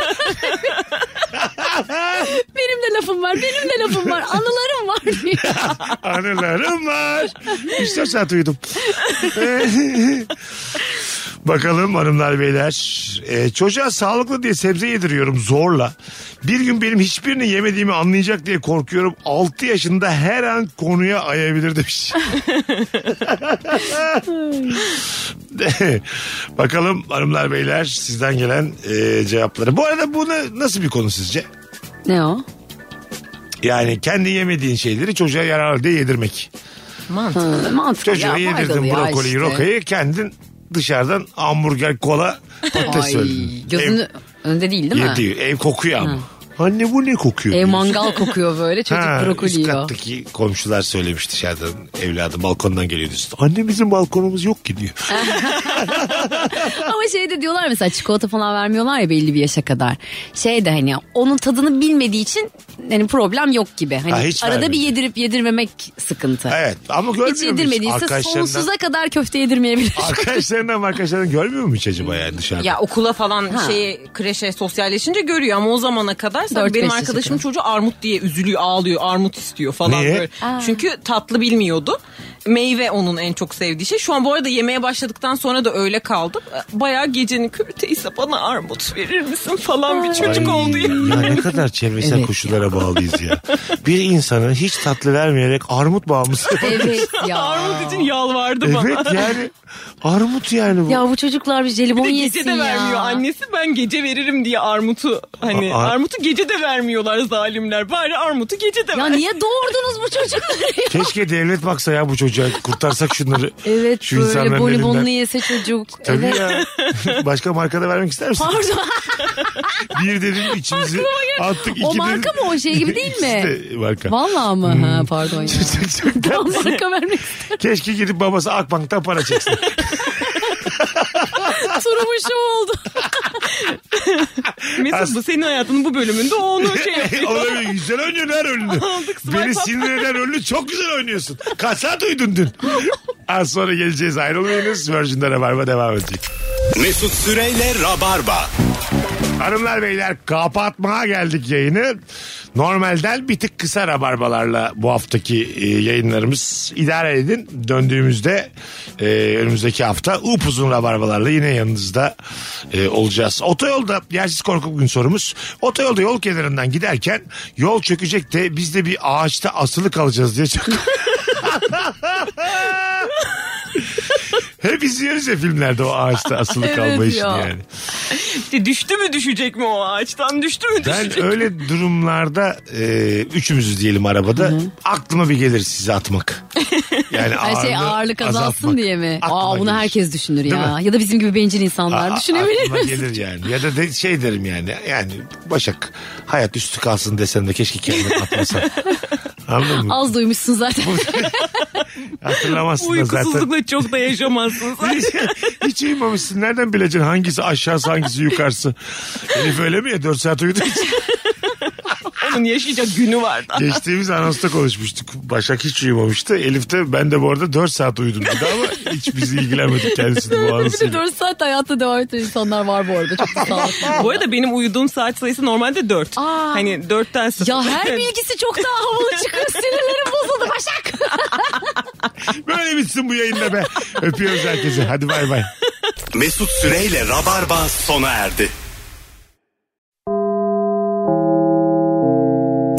Speaker 4: Benim de lafım var, benim de lafım var, anılarım var
Speaker 3: *laughs*
Speaker 4: diye.
Speaker 3: Anılarım var. 3-4 saat uyudum. *laughs* Bakalım hanımlar beyler. Ee, çocuğa sağlıklı diye sebze yediriyorum zorla. Bir gün benim hiçbirini yemediğimi anlayacak diye korkuyorum. 6 yaşında her an konuya ayabilir demiş. *laughs* Bakalım hanımlar beyler sizden gelen e, cevapları. Bu arada bu ne- nasıl bir konu sizce?
Speaker 4: Ne o?
Speaker 3: Yani kendi yemediğin şeyleri çocuğa yararlı diye yedirmek.
Speaker 4: Ha, mantıklı
Speaker 3: Çocuğa
Speaker 4: ya, faydalı
Speaker 3: yedirdin
Speaker 4: ya
Speaker 3: brokoliyi,
Speaker 4: işte.
Speaker 3: rokayı kendin dışarıdan hamburger, kola, patates
Speaker 4: Ay,
Speaker 3: söyledin.
Speaker 4: gözünü önde değil
Speaker 3: ev,
Speaker 4: değil mi?
Speaker 3: yedi, ev kokuyor ama. Anne bu ne kokuyor?
Speaker 4: Ev
Speaker 3: diyorsun.
Speaker 4: mangal kokuyor böyle çocuk
Speaker 3: Ha,
Speaker 4: brokoli
Speaker 3: üst
Speaker 4: yiyor.
Speaker 3: kattaki komşular söylemiş dışarıdan evladı balkondan geliyor üstü. Anne bizim balkonumuz yok ki diyor.
Speaker 4: Ama şey de diyorlar mesela çikolata falan vermiyorlar ya belli bir yaşa kadar. Şey de hani onun tadını bilmediği için hani problem yok gibi. Hani
Speaker 3: Ha, hiç
Speaker 4: arada
Speaker 3: vermedi.
Speaker 4: bir yedirip yedirmemek sıkıntı.
Speaker 3: *laughs* evet ama
Speaker 4: Hiç
Speaker 3: görmüyor muyuz?
Speaker 4: yedirmediyse
Speaker 3: Arkadaşlarından, *laughs*
Speaker 4: sonsuza kadar köfte yedirmeyebilir.
Speaker 3: arkadaşlarından arkadaşlarından görmüyor mu hiç acaba yani dışarıda?
Speaker 5: Ya okula falan
Speaker 4: Ha.
Speaker 5: şeye kreşe sosyalleşince görüyor ama o zamana kadar tabii
Speaker 4: Dört,
Speaker 5: benim
Speaker 4: beş yaşa
Speaker 5: arkadaşım
Speaker 4: kadar.
Speaker 5: çocuğu armut diye üzülüyor ağlıyor armut istiyor falan
Speaker 3: Niye?
Speaker 5: böyle. Çünkü tatlı bilmiyordu. Meyve onun en çok sevdiği şey. Şu an bu arada yemeye başladıktan sonra da öyle kaldım. Bayağı gecenin körteyse bana armut verir misin falan bir çocuk
Speaker 3: Ay,
Speaker 5: oldu ya.
Speaker 3: ya ne kadar çevresel
Speaker 4: Evet.
Speaker 3: koşullara bağlıyız ya. Bir insanı hiç tatlı vermeyerek armut bağımlısı.
Speaker 4: *laughs* Evet ya.
Speaker 5: *laughs* Armut için yalvardı bana.
Speaker 3: evet yani armut yani bu.
Speaker 4: ya bu çocuklar bir jelibon
Speaker 5: Bir de
Speaker 4: yesin
Speaker 5: gece de vermiyor.
Speaker 4: ya.
Speaker 5: Annesi ben gece veririm diye armutu hani
Speaker 3: A- ar-
Speaker 5: armutu gece de vermiyorlar zalimler. Bari armutu gece de
Speaker 4: Ya
Speaker 5: ver.
Speaker 4: niye doğurdunuz bu
Speaker 5: *laughs*
Speaker 4: çocukları?
Speaker 3: Keşke devlet baksa ya bu çocuğa kurtarsak şunları.
Speaker 4: evet
Speaker 3: Şu
Speaker 4: böyle
Speaker 3: insanların
Speaker 4: bonibonlu
Speaker 3: elinden.
Speaker 4: yese çocuk.
Speaker 3: Tabii
Speaker 4: evet.
Speaker 3: ya. *laughs* Başka markada vermek ister misin?
Speaker 4: Pardon.
Speaker 3: Bir dedim içimizi attık. iki
Speaker 4: o marka
Speaker 3: dedim-
Speaker 4: mı o şey gibi değil mi?
Speaker 3: *laughs* İkisi de marka.
Speaker 4: Vallahi mı?
Speaker 3: Hmm.
Speaker 4: Ha, pardon ya. *laughs* Tam marka vermek istedim.
Speaker 3: *laughs* Keşke gidip babası Akbank'tan para
Speaker 4: *laughs*
Speaker 3: çeksin.
Speaker 4: Turumun şu oldu.
Speaker 5: Mesut bu senin hayatının bu bölümünde o onu
Speaker 3: *laughs*
Speaker 5: şey yapıyor.
Speaker 3: Olabilir. Güzel oynuyorsun her
Speaker 4: *laughs*
Speaker 3: rolünü.
Speaker 5: Aldık, swipe
Speaker 3: Beni
Speaker 5: up.
Speaker 3: sinir eden rolünü çok güzel oynuyorsun. Kasa duydun
Speaker 4: *laughs*
Speaker 3: dün. Az sonra geleceğiz ayrılmayınız. Virgin'de Rabarba devam edecek.
Speaker 2: Mesut Süreyle Rabarba.
Speaker 3: Hanımlar beyler kapatmaya geldik yayını. Normalden bir tık kısa rabarbalarla bu haftaki e, yayınlarımız idare edin. Döndüğümüzde e, önümüzdeki hafta upuzun rabarbalarla yine yanınızda e, olacağız. Otoyolda yersiz korku bugün sorumuz. Otoyolda yol kenarından giderken yol çökecek de biz de bir ağaçta asılı kalacağız diye
Speaker 4: *laughs*
Speaker 3: çok... Hep izliyoruz ya filmlerde o ağaçta asılı
Speaker 4: Evet
Speaker 3: kalma işini
Speaker 4: ya.
Speaker 3: yani.
Speaker 5: İşte düştü mü düşecek mi o ağaçtan düştü mü
Speaker 3: Ben
Speaker 5: düşecek
Speaker 3: öyle durumlarda e, üçümüzüz diyelim arabada aklıma bir gelir sizi atmak. Yani
Speaker 4: Her şey
Speaker 3: ağırlığı
Speaker 4: ağırlık azalsın
Speaker 3: azaltmak.
Speaker 4: diye mi?
Speaker 3: Aklıma
Speaker 4: Aa bunu
Speaker 3: gelir.
Speaker 4: herkes düşünür
Speaker 3: Değil
Speaker 4: ya.
Speaker 3: mi?
Speaker 4: Ya da bizim gibi bencil
Speaker 3: A-
Speaker 4: insanlar
Speaker 3: a-
Speaker 4: düşünebilir
Speaker 3: aklıma
Speaker 4: mi?
Speaker 3: gelir yani. Ya da de- şey derim yani. Yani Başak hayat üstü kalsın desem de keşke kendimi
Speaker 4: *laughs*
Speaker 3: atmasam. Anladın mı?
Speaker 4: *laughs* Az duymuşsun zaten.
Speaker 3: Hatırlamazsın da zaten.
Speaker 5: Uykusuzlukla çok
Speaker 3: *laughs*
Speaker 5: da yaşamazsın. sen.
Speaker 3: Hiç, *laughs* hiç uyumamışsın. Nereden bileceksin hangisi aşağısı hangisi yukarısı? Elif öyle mi ya? 4 saat uyudu.
Speaker 5: Onun yaşayacak günü var da.
Speaker 3: Geçtiğimiz anonsta konuşmuştuk. Başak hiç uyumamıştı. Elif de ben de bu arada 4 saat uyudum dedi ama hiç bizi ilgilenmedik kendisini bu
Speaker 4: *laughs* Bir de
Speaker 3: anısıyla.
Speaker 4: 4 saat hayatta devam eden insanlar var bu arada. Çok da sağ olsun.
Speaker 3: *laughs*
Speaker 5: Bu arada benim uyuduğum saat sayısı normalde 4.
Speaker 4: Aa.
Speaker 5: Hani 4'ten sıfır.
Speaker 4: Ya
Speaker 5: *laughs*
Speaker 4: her bilgisi çok daha havalı çıkıyor. Sinirlerim bozuldu Başak.
Speaker 3: Böyle bitsin bu yayında be. Öpüyoruz herkese. Hadi bay bay.
Speaker 2: Mesut Süreyle Rabarba sona erdi.